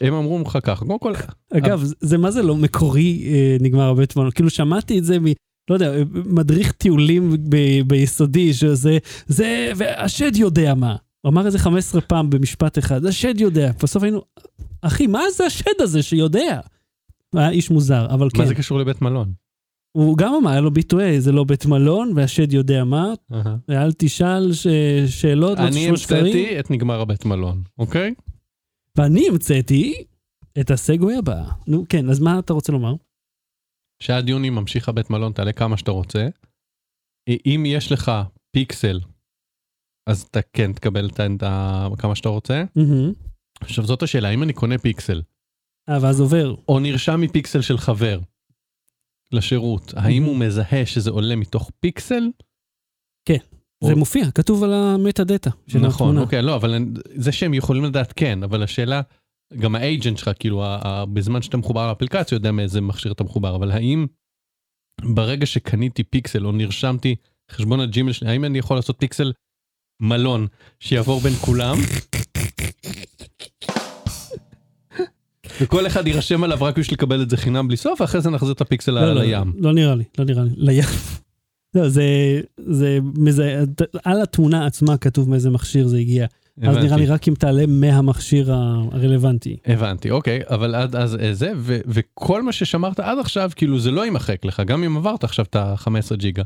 הם אמרו לך ככה קודם כל אגב, זה- זה מה זה לא מקורי אה, נגמר הבית מלון? כאילו שמעתי את זה מ... לא יודע, אה, מדריך טיולים ב- ביסודי, שזה, זה, והשד יודע מה. הוא אמר את זה 15 פעם במשפט אחד, השד יודע. בסוף היינו, אחי, מה זה השד הזה שיודע? היה איש מוזר, אבל מה כן. זה קשור לבית מלון. הוא גם אמר, היה לו ביטוי, זה לא בית מלון, והשד יודע מה, אהה. אל תשאל ש... שאלות, לא אני תשמע שקרים. המצאתי את נגמר הבית מלון, אוקיי? ואני המצאתי את הסגווי הבא. נו, כן, אז מה אתה רוצה לומר? שעד יוני ממשיך הבית מלון, תעלה כמה שאתה רוצה. אה, אם יש לך פיקסל, אז אתה כן תקבל את ה- את ה- כמה שאתה רוצה. מהמם. עכשיו זאת השאלה, אם אני קונה פיקסל, אה, ואז עובר. או נרשם מפיקסל של חבר לשירות, האם הוא מזהה שזה עולה מתוך פיקסל? זה או- מופיע, כתוב על המטה דאטה של נכון, התמונה. אוקיי, לא, אבל אני- זה שהם יכולים לדעת כן, אבל השאלה, גם האג'נט שלך, כאילו, ה- ה- בזמן שאתה מחובר לאפליקציה, יודע מאיזה מכשיר אתה מחובר, אבל האם ברגע שקניתי פיקסל או נרשמתי חשבון הג'ימל שלי, האם אני יכול לעשות פיקסל מלון שיעבור בין כולם? וכל אחד יירשם עליו רק בשביל לקבל את זה חינם בלי סוף, ואחרי זה נחזיר את הפיקסל לא, על לא, הים. לא נראה לי, לא נראה לי. לים. לא, זה, זה מזהה, על התמונה עצמה כתוב מאיזה מכשיר זה הגיע. אז נראה לי רק אם תעלה מהמכשיר הרלוונטי. הבנתי, אוקיי, אבל עד אז אה, זה, ו, וכל מה ששמרת עד עכשיו, כאילו זה לא יימחק לך, גם אם עברת עכשיו את ה-15 ג'יגה.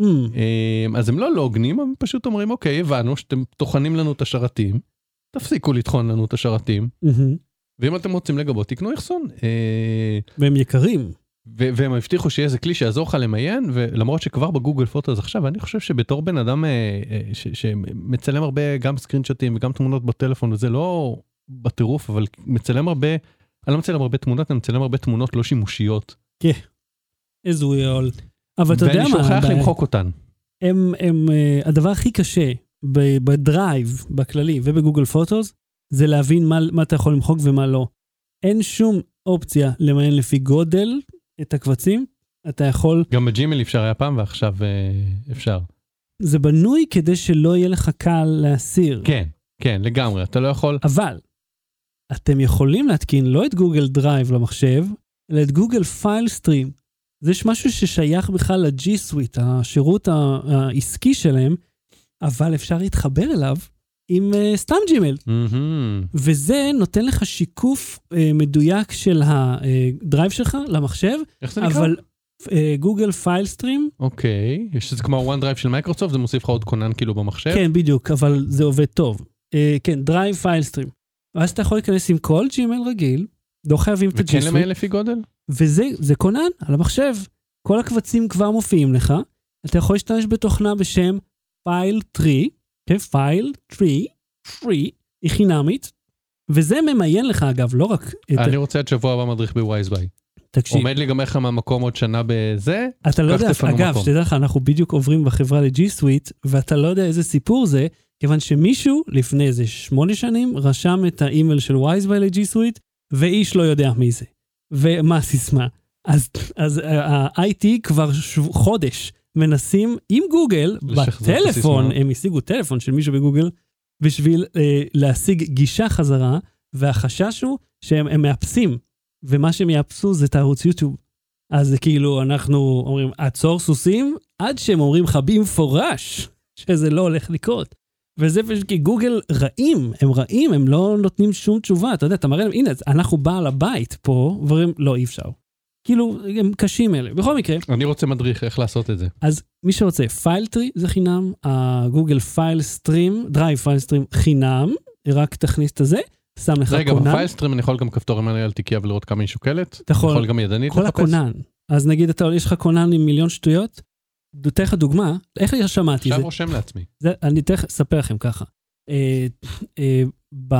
אמ, אה, אז הם לא לא הוגנים, הם פשוט אומרים, אוקיי, הבנו שאתם טוחנים לנו את השרתים, תפסיקו לטחון לנו את השרתים, מהמם. ואם אתם רוצים לגבות, תקנו אחסון. אה, והם יקרים. ו- והם הבטיחו שיהיה איזה כלי שיעזור לך למיין, ולמרות שכבר בגוגל פוטוס עכשיו, אני חושב שבתור בן אדם אה, אה, ש- שמצלם הרבה גם סקרינשוטים וגם תמונות בטלפון, וזה לא בטירוף, אבל מצלם הרבה, אני לא מצלם הרבה תמונות, אני מצלם הרבה תמונות לא שימושיות. איזה הוא יעול. אבל אתה יודע מה, ואני שוכח הבעיה- למחוק אותן. הם, הם, אה, הדבר הכי קשה ב- בדרייב בכללי ובגוגל פוטוס, זה להבין מה, מה אתה יכול למחוק ומה לא. אין שום אופציה למיין לפי גודל את הקבצים, אתה יכול, גם בג'ימל אפשר היה פעם, ועכשיו אה, אפשר. זה בנוי כדי שלא יהיה לך קל להסיר. כן, כן, לגמרי, אתה לא יכול... אבל, אתם יכולים להתקין לא את גוגל דרייב למחשב, אלא את גוגל פייל סטרים. זה יש משהו ששייך בכלל לג'י סוויט, השירות ה- העסקי שלהם, אבל אפשר להתחבר אליו עם אה, סתם ג'ימל. מהמם. וזה נותן לך שיקוף אה, מדויק של הדרייב שלך למחשב, איך זה נקרא? אבל אה, גוגל פייל סטרים, אוקיי, יש איזה כמו הוואן דרייב של מייקרוסופט, זה מוסיף לך עוד כונן כאילו במחשב? כן בדיוק, אבל זה עובד טוב. אה, כן, דרייב פייל סטרים. ואז אתה יכול להיכנס עם כל ג'ימל רגיל, לא חייבים את וכן הג'יסוי. למיין לפי גודל? וזה זה כונן על המחשב. כל הקבצים כבר מופיעים לך, אתה יכול להשתמש בתוכנה בשם פייל טרי, כן, פייל טרי, טרי, היא חינמית, וזה ממיין לך אגב, לא רק את... אני רוצה עד שבוע הבא מדריך בווייז ביי. תקשיב, עומד לי גם איך מהמקום עוד שנה בזה, אתה לא קח יודע, תפנו אגב, מקום. שתדע לך, אנחנו בדיוק עוברים בחברה לג'י סוויט, ואתה לא יודע איזה סיפור זה, כיוון שמישהו לפני איזה שמונה שנים רשם את האימייל של וייזביי לג'י סוויט, ואיש לא יודע מי זה, ומה הסיסמה. אז, אז ה-IT כבר שב, חודש מנסים עם גוגל, לשחזר את בטלפון, הסיסמה. הם השיגו טלפון של מישהו בגוגל, בשביל אה, להשיג גישה חזרה, והחשש הוא שהם הם מאפסים, ומה שהם יאפסו זה את הערוץ יוטיוב. אז זה כאילו, אנחנו אומרים, עצור סוסים, עד שהם אומרים לך במפורש שזה לא הולך לקרות. וזה פשוט כי גוגל רעים, הם רעים, הם לא נותנים שום תשובה. אתה יודע, אתה מראה להם, הנה, אנחנו בעל הבית פה, ואומרים, לא, אי אפשר. כאילו, הם קשים אלה. בכל מקרה, אני רוצה מדריך איך לעשות את זה. אז מי שרוצה, פיילטרי זה חינם, הגוגל פייל סטרים, דרייב פייל סטרים חינם, רק תכניס את הזה, שם לך רגע, קונן. בפייסטרים אני יכול גם כפתור עם על תיקייה ולראות כמה היא שוקלת? אתה יכול- יכול גם ידנית נכון. כל לחפש? הקונן. אז נגיד אתה, יש לך קונן עם מיליון שטויות, אתן לך דוגמה, איך שמעתי את עכשיו זה, רושם לעצמי. זה, אני תכף אספר לכם ככה. אה, אה, ב,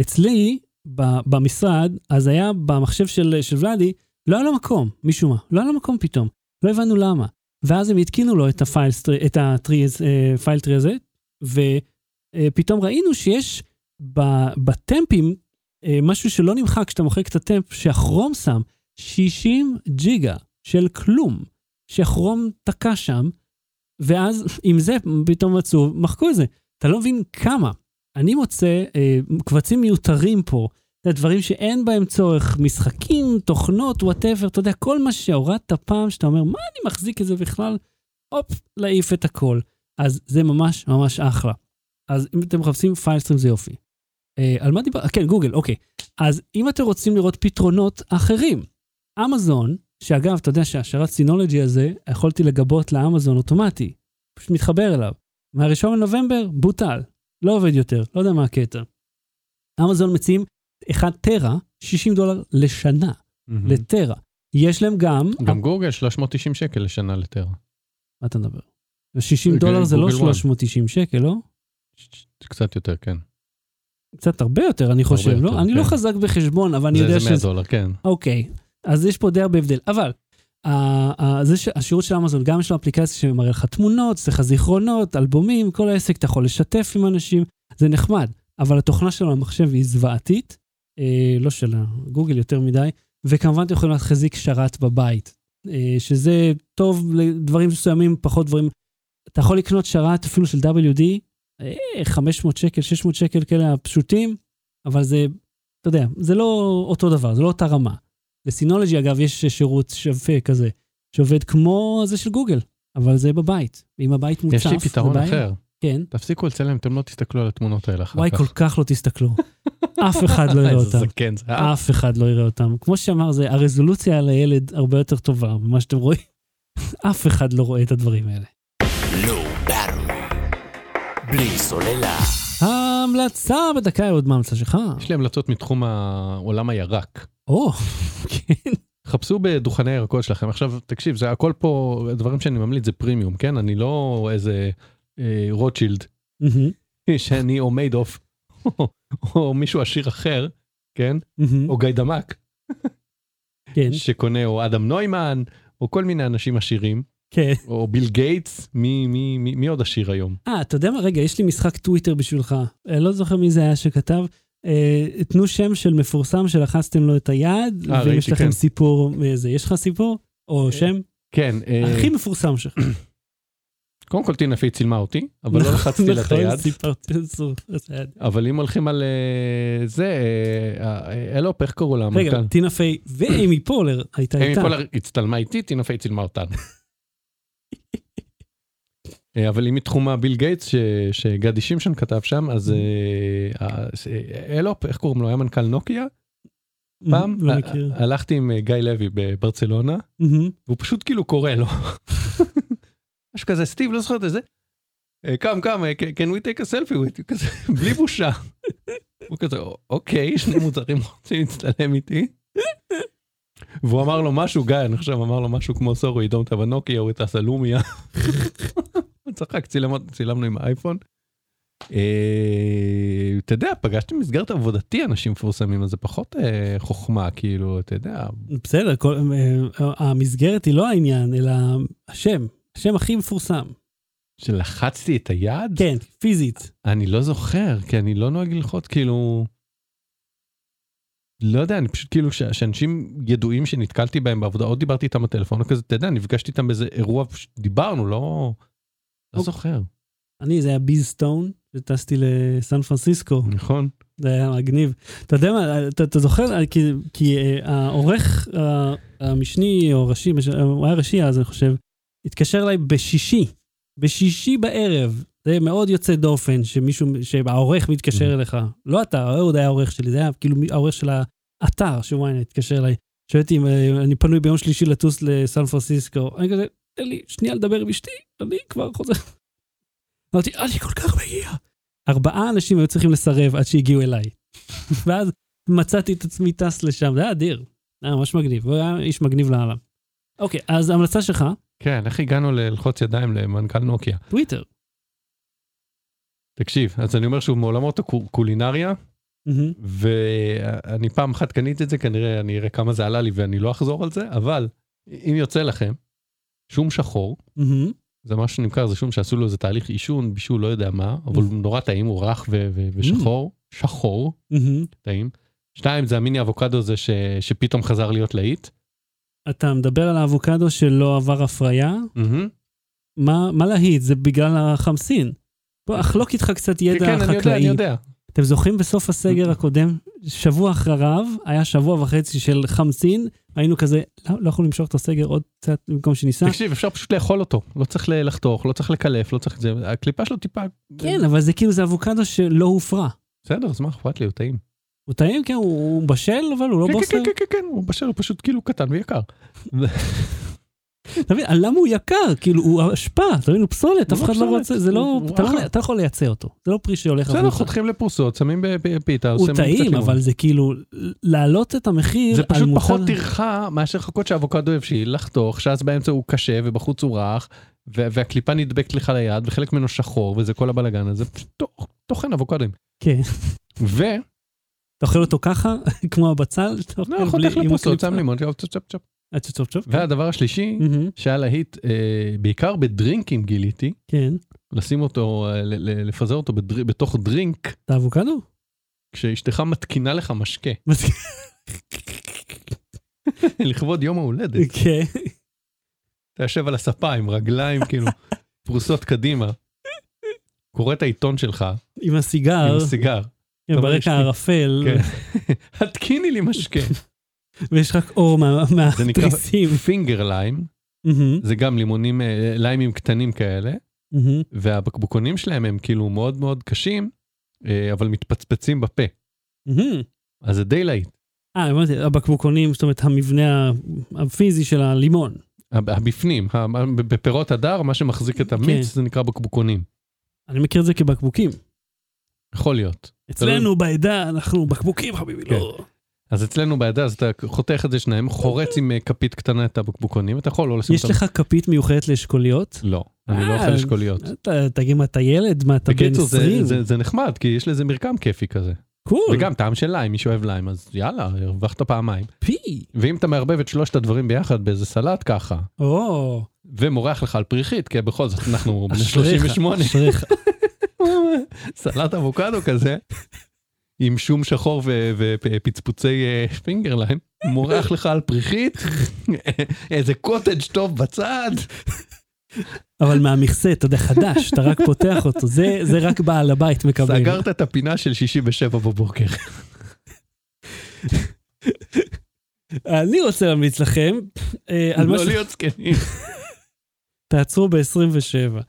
אצלי, ב, במשרד, אז היה במחשב של, של ולאדי, לא היה לו מקום, משום מה. לא היה לו מקום פתאום. לא הבנו למה. ואז הם התקינו לו את הפייל סטרי- את הטרי, הזה- אה, פייל טרי הזה, ופתאום ראינו שיש ב, בטמפים אה, משהו שלא נמחק כשאתה מוחק את הטמפ, שהכרום שם 60 ג'יגה של כלום, שהכרום תקע שם, ואז עם זה פתאום מצאו, מחקו את זה. אתה לא מבין כמה. אני מוצא אה, קבצים מיותרים פה, זה דברים שאין בהם צורך, משחקים, תוכנות, וואטאבר, אתה יודע, כל מה שהורדת פעם, שאתה אומר, מה אני מחזיק את זה בכלל? הופ, להעיף את הכל. אז זה ממש ממש אחלה. אז אם אתם מחפשים פייסטרים זה יופי. אה, על מה דיבר? כן, גוגל, אוקיי. אז אם אתם רוצים לראות פתרונות אחרים, אמזון, שאגב, אתה יודע שהשארת סינולוגי הזה, יכולתי לגבות לאמזון אוטומטי, פשוט מתחבר אליו. מהראשון לנובמבר, בוטל, לא עובד יותר, לא יודע מה הקטע. אמזון מציעים 1 טרה, 60 דולר לשנה, לטרה. יש להם גם, גם גוגל 390 שקל לשנה לטרה. מה אתה מדבר? 60 גוגל- דולר זה לא גוגל וואן. 390 שקל, לא? זה קצת יותר, כן. קצת הרבה יותר, אני חושב, יותר, לא? אני לא כן. חזק בחשבון, אבל אני זה- יודע זה 100 שזה... דולר, כן. אוקיי, אז יש פה די הרבה הבדל. אבל, ה- ה- זה ש- השירות של אמזון, גם יש לו אפליקציה שמראה לך תמונות, יש לך זיכרונות, אלבומים, כל העסק, אתה יכול לשתף עם אנשים, זה נחמד. אבל התוכנה שלו למחשב היא זוועתית, אה, לא של גוגל יותר מדי, וכמובן אתם יכולים להחזיק שרת בבית, אה, שזה טוב לדברים מסוימים, פחות דברים. אתה יכול לקנות שרת אפילו של WD, אה, 500 שקל, 600 שקל כאלה הפשוטים, אבל זה, אתה יודע, זה לא אותו דבר, זה לא אותה רמה. לסינולוגי, אגב, יש שירות שווה כזה, שעובד כמו זה של גוגל, אבל זה בבית. ואם הבית מוצף, יש לי פתרון בבית, אחר. כן. תפסיקו לצלם, אתם לא תסתכלו על התמונות האלה אחר כך. וואי, כל כך לא תסתכלו. אף אחד לא יראה איזה אותם. זקן זה. אה, אף אחד לא יראה אותם. כמו שאמר זה, הרזולוציה על הילד הרבה יותר טובה ממה שאתם רואים. אף אחד לא רואה את הדברים האלה. Low Battery. בלי סוללה. ההמלצה בדקה היא עוד מה ההמלצה שלך. יש לי המלצות מתחום העולם הירק. או, כן. חפשו בדוכני הירקות שלכם. עכשיו, תקשיב, זה הכל פה, הדברים שאני ממליץ זה פרימיום, כן? אני לא איזה אה, רוטשילד מהמם, שאני או מיידוף, או מישהו עשיר אחר, כן? מהמם, או גיא דמק, אוקיי. כן, שקונה, או אדם נוימן, או כל מיני אנשים עשירים, כן. או ביל גייטס, מי, מי, מי, מי עוד עשיר היום? אה, אתה יודע מה? רגע, יש לי משחק טוויטר בשבילך. אה, לא זוכר מי זה היה שכתב. אה, תנו שם של מפורסם שלחסתם לו את היד, אה, ואם ראיתי, יש לכם כן. סיפור, אה, זה, יש לך סיפור? או שם? כן, אה, הכי מפורסם שלך. קודם כל טינה פי צילמה אותי, אבל לא לחצתי לה את נכון, היד. סיפרתי את זה, את היד. אבל אם הולכים על אה, זה, אה, אה, אלופ, איך קראו לה? רגע, המנכ"ל? טינה פיי ואימי פולר הייתה אמי איתה. פולר הצטלמה איתי, טינה פיי צילמה אותנו. אה, אבל אם מתחום הביל גייטס ש- שגדי שמשון כתב שם, Mm-hmm. אז אה, ה- אה, אלופ, איך קוראים לו? היה מנכ"ל נוקיה? מ- פעם Mm-hmm, אה, לא ה- מכיר. ה- הלכתי עם אה, גיא לוי בברצלונה, מהמם. והוא פשוט כאילו קורא לו. משהו כזה, סטיב, לא זוכר את זה. אה, come, come, אה, can can we take a selfie with you? כזה, בלי בושה. הוא כזה, "א- אוקיי, שני מוזרים רוצים להצטלם איתי. והוא אמר לו משהו, גיא, אני חושב, אמר לו משהו כמו סורי, don't have a Nokia או את הסלומיה. הוא צחק, צילם- צילמנו עם האייפון. אה, אתה יודע, פגשתי במסגרת עבודתי אנשים מפורסמים, אז זה פחות אה, חוכמה, כאילו, אתה יודע, בסדר, כל, אה, אה, המסגרת היא לא העניין, אלא השם, השם הכי מפורסם. שלחצתי את היד? כן, פיזית. אני לא זוכר, כי אני לא נוהג ללחוץ, כאילו... לא יודע, אני פשוט כאילו, ש- שאנשים ידועים שנתקלתי בהם בעבודה, עוד דיברתי איתם בטלפון, או כזה, אתה יודע, נפגשתי איתם באיזה אירוע, פשוט דיברנו, לא... לא אוקיי. זוכר. אני, זה היה ביז סטון, שטסתי לסן פרנסיסקו, נכון. זה היה מגניב. אתה יודע מה, אתה, אתה זוכר, אה, כי, כי אה, העורך אה, המשני, או ראשי, מש- אה, הוא היה ראשי אז, אני חושב, התקשר אליי בשישי, בשישי בערב. זה מאוד יוצא דופן, שמישהו, שהעורך מתקשר Mhm. אליך. לא אתה, אהוד היה העורך שלי, זה היה כאילו מי- העורך של האתר של ynet התקשר אליי. שואל אותי אם אה, אני פנוי ביום שלישי לטוס לסן פרנסיסקו. אני כזה, תן לי שנייה לדבר עם אשתי, אני כבר חוזר. אמרתי, אני כל כך מגיע. ארבעה אנשים היו צריכים לסרב עד שהגיעו אליי. ואז מצאתי את עצמי טס לשם, זה היה אדיר. היה ממש מגניב, הוא היה איש מגניב לאללה. אוקיי, אז ההמלצה שלך, כן, איך הגענו ללחוץ ידיים למנכ"ל נוקיה? טוויטר. תקשיב, אז אני אומר שהוא מעולמות הקולינריה, מהמם. ואני פעם אחת קניתי את זה, כנראה אני אראה כמה זה עלה לי ואני לא אחזור על זה, אבל אם יוצא לכם, שום שחור, מהמם. זה משהו שנמכר, זה שום שעשו לו איזה תהליך עישון, בישול, לא יודע מה, אבל הוא נורא טעים, הוא רך ו- ו- ושחור, שחור, מהמם. טעים. שתיים, זה המיני אבוקדו הזה ש- שפתאום חזר להיות להיט. אתה מדבר על האבוקדו שלא עבר הפריה? מה מה להיט? זה בגלל החמסין. בוא, אחלוק איתך קצת כן, ידע כן, אני יודע, אני חקלאי. אה. יודע. אתם זוכרים בסוף הסגר הקודם, שבוע אחריו, היה שבוע וחצי של חמסין, היינו כזה, לא, לא יכולנו למשוך את הסגר עוד קצת במקום שניסע. תקשיב, אפשר פשוט לאכול אותו, לא צריך ל- לחתוך, לא צריך לקלף, לא צריך את זה, הקליפה שלו טיפה... כן, אבל זה כאילו, זה אבוקדו שלא הופרע. בסדר, אז מה אכפת לי, הוא טעים. הוא טעים, כן, הוא הוא בשל, אבל הוא כן, לא כן, בוסר. כן, כן, כן, כן, הוא בשל, הוא פשוט כאילו קטן ויקר. אתה מבין, למה הוא יקר? כאילו, הוא אשפה, אתה מבין, הוא פסולת, הוא אף כן. לא אחד לא פסולת, רוצה, זה לא, הוא- הוא אתה לא- אחלה. אתה לא יכול לייצא אותו. זה לא פרי שהולך בסדר, החוצה. חותכים לפרוסות, שמים בפיתה, הוא טעים, אבל זה כאילו, להעלות את המחיר זה על פשוט מוצר- פחות טרחה מאשר לחכות שהאבוקדו יבשיל, לחתוך, שאז באמצע הוא קשה ובחוץ הוא רך, ו- והקליפה נדבקת לך ליד וחלק ממנו שחור וזה כל הבלגן הזה, פשוט תוך- תוכן אבוקדוים. כן. ולא, אתה אוכל אותו ככה, כמו הבצל, לא, שאתה אוכל בלי- חותך עם לפרוסות, הקליפה. שם לימון, צ'ופ צ'ופ צ'ופ. אה, צ'ופ, צ'ופ, צ'ופ. והדבר השלישי, מהמם, שהיה להיט, אה, בעיקר בדרינקים גיליתי, כן, לשים אותו, אה, ל- ל- לפזר אותו בדר- בתוך דרינק, את האבוקדו? כשאשתך מתקינה לך משקה, לכבוד יום ההולדת. כן. אתה יושב על הספה עם רגליים כאילו פרוסות קדימה, קורא את העיתון שלך עם הסיגר, עם סיגר, כן, אתה מרגיש ברקע לי. הערפל, כן. התקיני לי משקה. ויש רק אור מה- זה נקרא מהתריסים. פינגר ליים, מהמם, זה גם לימונים, אה, ליימים קטנים כאלה, מהמם. והבקבוקונים שלהם הם כאילו מאוד מאוד קשים, אה, אבל מתפצפצים בפה. מהמם. אז זה די להיט. אה, הבנתי, הבקבוקונים, זאת אומרת, המבנה ה- הפיזי של הלימון. הב- הבפנים, ה- בפירות הדר, מה שמחזיק את כן. המיץ זה נקרא בקבוקונים. אני מכיר את זה כבקבוקים. יכול להיות. אצלנו בעדה אנחנו בקבוקים, חביבי, כן. לא. אז אצלנו בעדה, אז אתה חותך את זה שניהם, חורץ עם אה, כפית קטנה את הבקבוקונים, אתה יכול לא לשים יש אותם. לך כפית מיוחדת לאשכוליות? לא, אני לא אה, אוכל אשכוליות. אתה- תגיד, מה, אתה ילד? מה, אתה בן בקיצור, זה- 20? זה- זה נחמד, כי יש לזה מרקם כיפי כזה. קול, וגם טעם של ליים, מי שאוהב ליים, אז יאללה, הרווחת פעמיים. פי. ואם אתה מערבב את שלושת הדברים ביחד באיזה סלט ככה, או, ומורח לך על פריחית, כי בכל זאת אנחנו בני אשריך, 38, אשריך. סלט אבוקדו כזה, עם שום שחור ו- ופצפוצי אה, פינגרליין, מורח לך על פריחית, איזה קוטג' טוב בצד. אבל מהמכסה, אתה יודע, חדש, אתה רק פותח אותו, זה זה רק בעל הבית מקבל. סגרת את הפינה של שישי בשבע בבוקר. אני רוצה להמליץ לכם אה, על מה לא ש... להיות זקנים. תעצרו ב-27.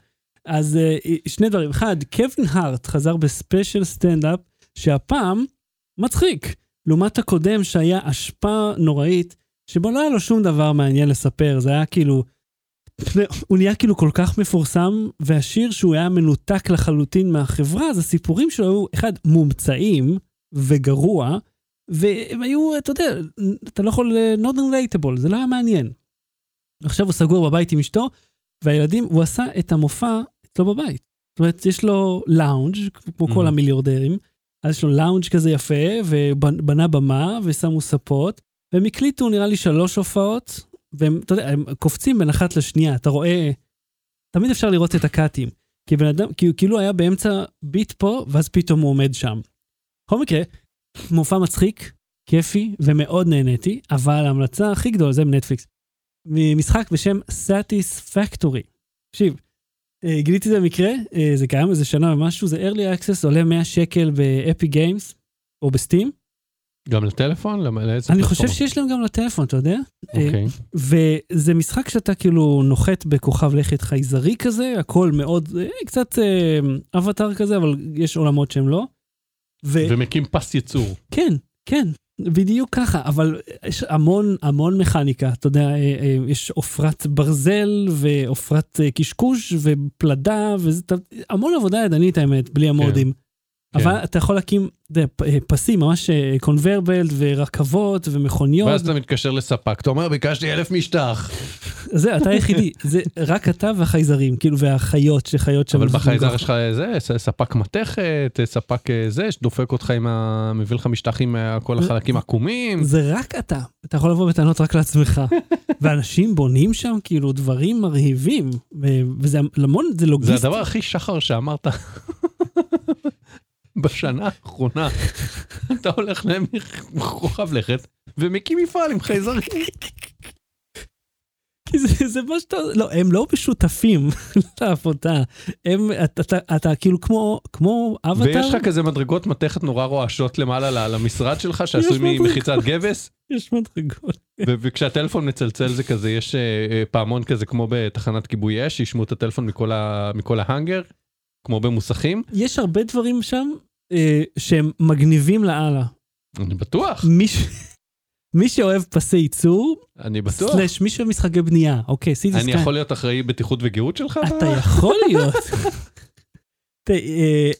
אז uh, שני דברים. אחד, קווין הארט חזר בספיישל סטנדאפ, שהפעם מצחיק, לעומת הקודם שהיה אשפה נוראית, שבו לא היה לו שום דבר מעניין לספר, זה היה כאילו... הוא נהיה כאילו כל כך מפורסם, והשיר שהוא היה מנותק לחלוטין מהחברה, אז הסיפורים שלו היו, אחד, מומצאים וגרוע, והם היו, אתה יודע, אתה לא יכול, אה, not relatable, זה לא היה מעניין. עכשיו הוא סגור בבית עם אשתו, והילדים, הוא עשה את המופע אצלו בבית. זאת אומרת, יש לו לאונג', כמו כל Mhm. המיליארדרים, אז יש לו לאונג' כזה יפה, ובנה במה, ושמו ספות, והם הקליטו נראה לי שלוש הופעות, והם, אתה יודע, הם קופצים בין אחת לשנייה, אתה רואה, תמיד אפשר לראות את הקאטים, כי בן אדם, כי הוא כאילו היה באמצע ביט פה, ואז פתאום הוא עומד שם. בכל מקרה, מופע מצחיק, כיפי, ומאוד נהניתי, אבל ההמלצה הכי גדולה זה מנטפליקס. משחק בשם Satisfactory. תקשיב, אה, גיליתי את המקרה, אה, זה קיים איזה שנה ומשהו, זה early access, עולה 100 שקל באפי גיימס, או בסטים. גם לטלפון? למ- לאיזה אני פלטפורמה? חושב שיש להם גם לטלפון, אתה יודע? אה, אוקיי. וזה משחק שאתה כאילו נוחת בכוכב לכת חייזרי כזה, הכל מאוד, אה, קצת אה, אבטאר כזה, אבל יש עולמות שהם לא. ו- ומקים פס ייצור. כן, כן, בדיוק ככה, אבל יש המון המון מכניקה, אתה יודע, אה, אה, יש עופרת ברזל ועופרת אה, קשקוש ופלדה, וזה אתה- המון עבודה ידנית האמת, בלי המודים. כן. אבל אתה יכול להקים אתה יודע, פ- אה, פסים, ממש קונברבלד ורכבות ומכוניות. ואז אתה מתקשר לספק, אתה אומר, ביקשתי אלף משטח. זה, אתה היחידי, זה רק אתה והחייזרים, כאילו, והחיות שחיות שם. אבל זה בחייזר גם יש לך זה, ס- ספק מתכת, ספק אה, זה, שדופק אותך עם ה... מביא לך משטח עם אה, כל החלקים עקומים. זה רק אתה. אתה יכול לבוא בטענות רק לעצמך. ואנשים בונים שם כאילו דברים מרהיבים, ו- וזה המון, זה זה לוגיסטי. הדבר הכי שחר שאמרת בשנה האחרונה. אתה הולך לכוכב לכת ומקים מפעל עם חייזרים. כי זה, זה מה שאתה, לא, הם לא משותפים לעבודה. הם, אתה, אתה, אתה כאילו כמו, כמו אבטאר. ויש לך כזה מדרגות מתכת נורא רועשות למעלה ל- למשרד שלך שעשוי יש מדרגות. ממחיצת גבס, יש מדרגות. ו- וכשהטלפון מצלצל זה כזה, יש אה, אה, פעמון כזה כמו בתחנת כיבוי אש, שישמעו את הטלפון מכל ה- מכל ההאנגר, כמו במוסכים. יש הרבה דברים שם אה, שהם מגניבים לאללה. אני בטוח, מי, ש... מי שאוהב פסי ייצור, אני בטוח. סלאש מי שאוהב משחקי בנייה, אוקיי, סיטי אני סקאי. יכול להיות אחראי בטיחות וגאות שלך? אתה יכול להיות. תה, אה,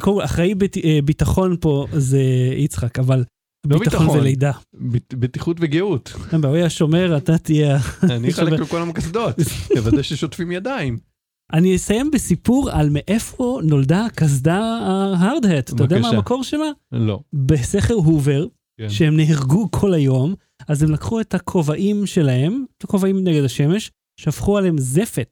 קודם כל, אחראי בית- אה, ביטחון פה זה יצחק, אבל לא ביטחון ביטחון. זה לידה. ב- בטיחות וגאות. אין בעיה, הוא יהיה השומר, אתה תהיה... ה- אני אחלק לכל המקסדות, לוודא ששוטפים ידיים. אני אסיים בסיפור על מאיפה נולדה הקסדה ההארד-הט. אתה יודע מה בבקשה. המקור שלה? לא. בסכר הובר, כן. שהם נהרגו כל היום, אז הם לקחו את הכובעים שלהם, את הכובעים נגד השמש, שפכו עליהם זפת.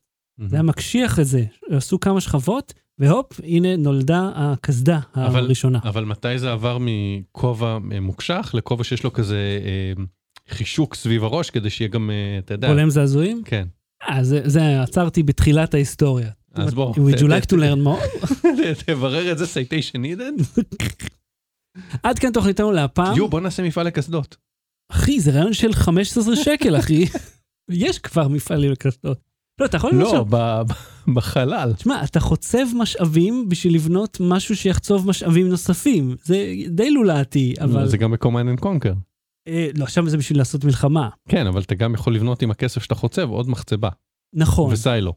זה היה מקשיח את זה, עשו כמה שכבות, והופ, הנה נולדה הקסדה אבל- הראשונה. אבל מתי זה עבר מכובע אה, מוקשח לכובע שיש לו כזה אה, חישוק סביב הראש כדי שיהיה גם, אה, אתה יודע. הולם זעזועים? כן. אה, זה- זה עצרתי בתחילת ההיסטוריה. אז בוא. would you ת- like ת- to learn more? ת- תברר את זה citation needed. עד כאן תוכניתנו להפעם. יו, בוא נעשה מפעל לקסדות. אחי, זה רעיון של 15 שקל, אחי. יש כבר מפעלים לקסדות. לא, אתה יכול לא, למשל- ב- ב- בחלל. תשמע, אתה חוצב משאבים בשביל לבנות משהו שיחצוב משאבים נוספים. זה די לולאתי, אבל... זה גם בקומן אנד קונקר. אה, לא, עכשיו זה בשביל לעשות מלחמה. כן, אבל אתה גם יכול לבנות עם הכסף שאתה חוצב עוד מחצבה. נכון, וסיילו.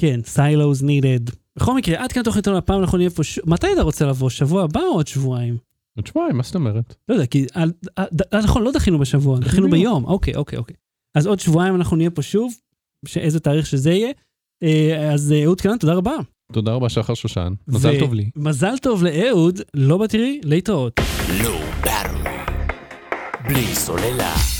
כן, silos needed. בכל מקרה, עד כאן תוכניתנו להפעם, אנחנו נהיה פה... ש- מתי אתה רוצה לבוא? שבוע הבא או עוד שבועיים? עוד שבועיים, מה זאת אומרת? לא יודע, כי... אה, אה, ד- אה, נכון, לא דחינו בשבוע, דחינו ביום. ביום. אוקיי, אוקיי, אוקיי. אז עוד שבועיים אנחנו נהיה פה שוב, שאיזה תאריך שזה יהיה. אה, אז אה, אהוד קנן, תודה רבה. תודה רבה שחר שושן. מזל ו- טוב לי. מזל טוב לאהוד, לא בתראי, להתראות. Low Battery. Bli Solela.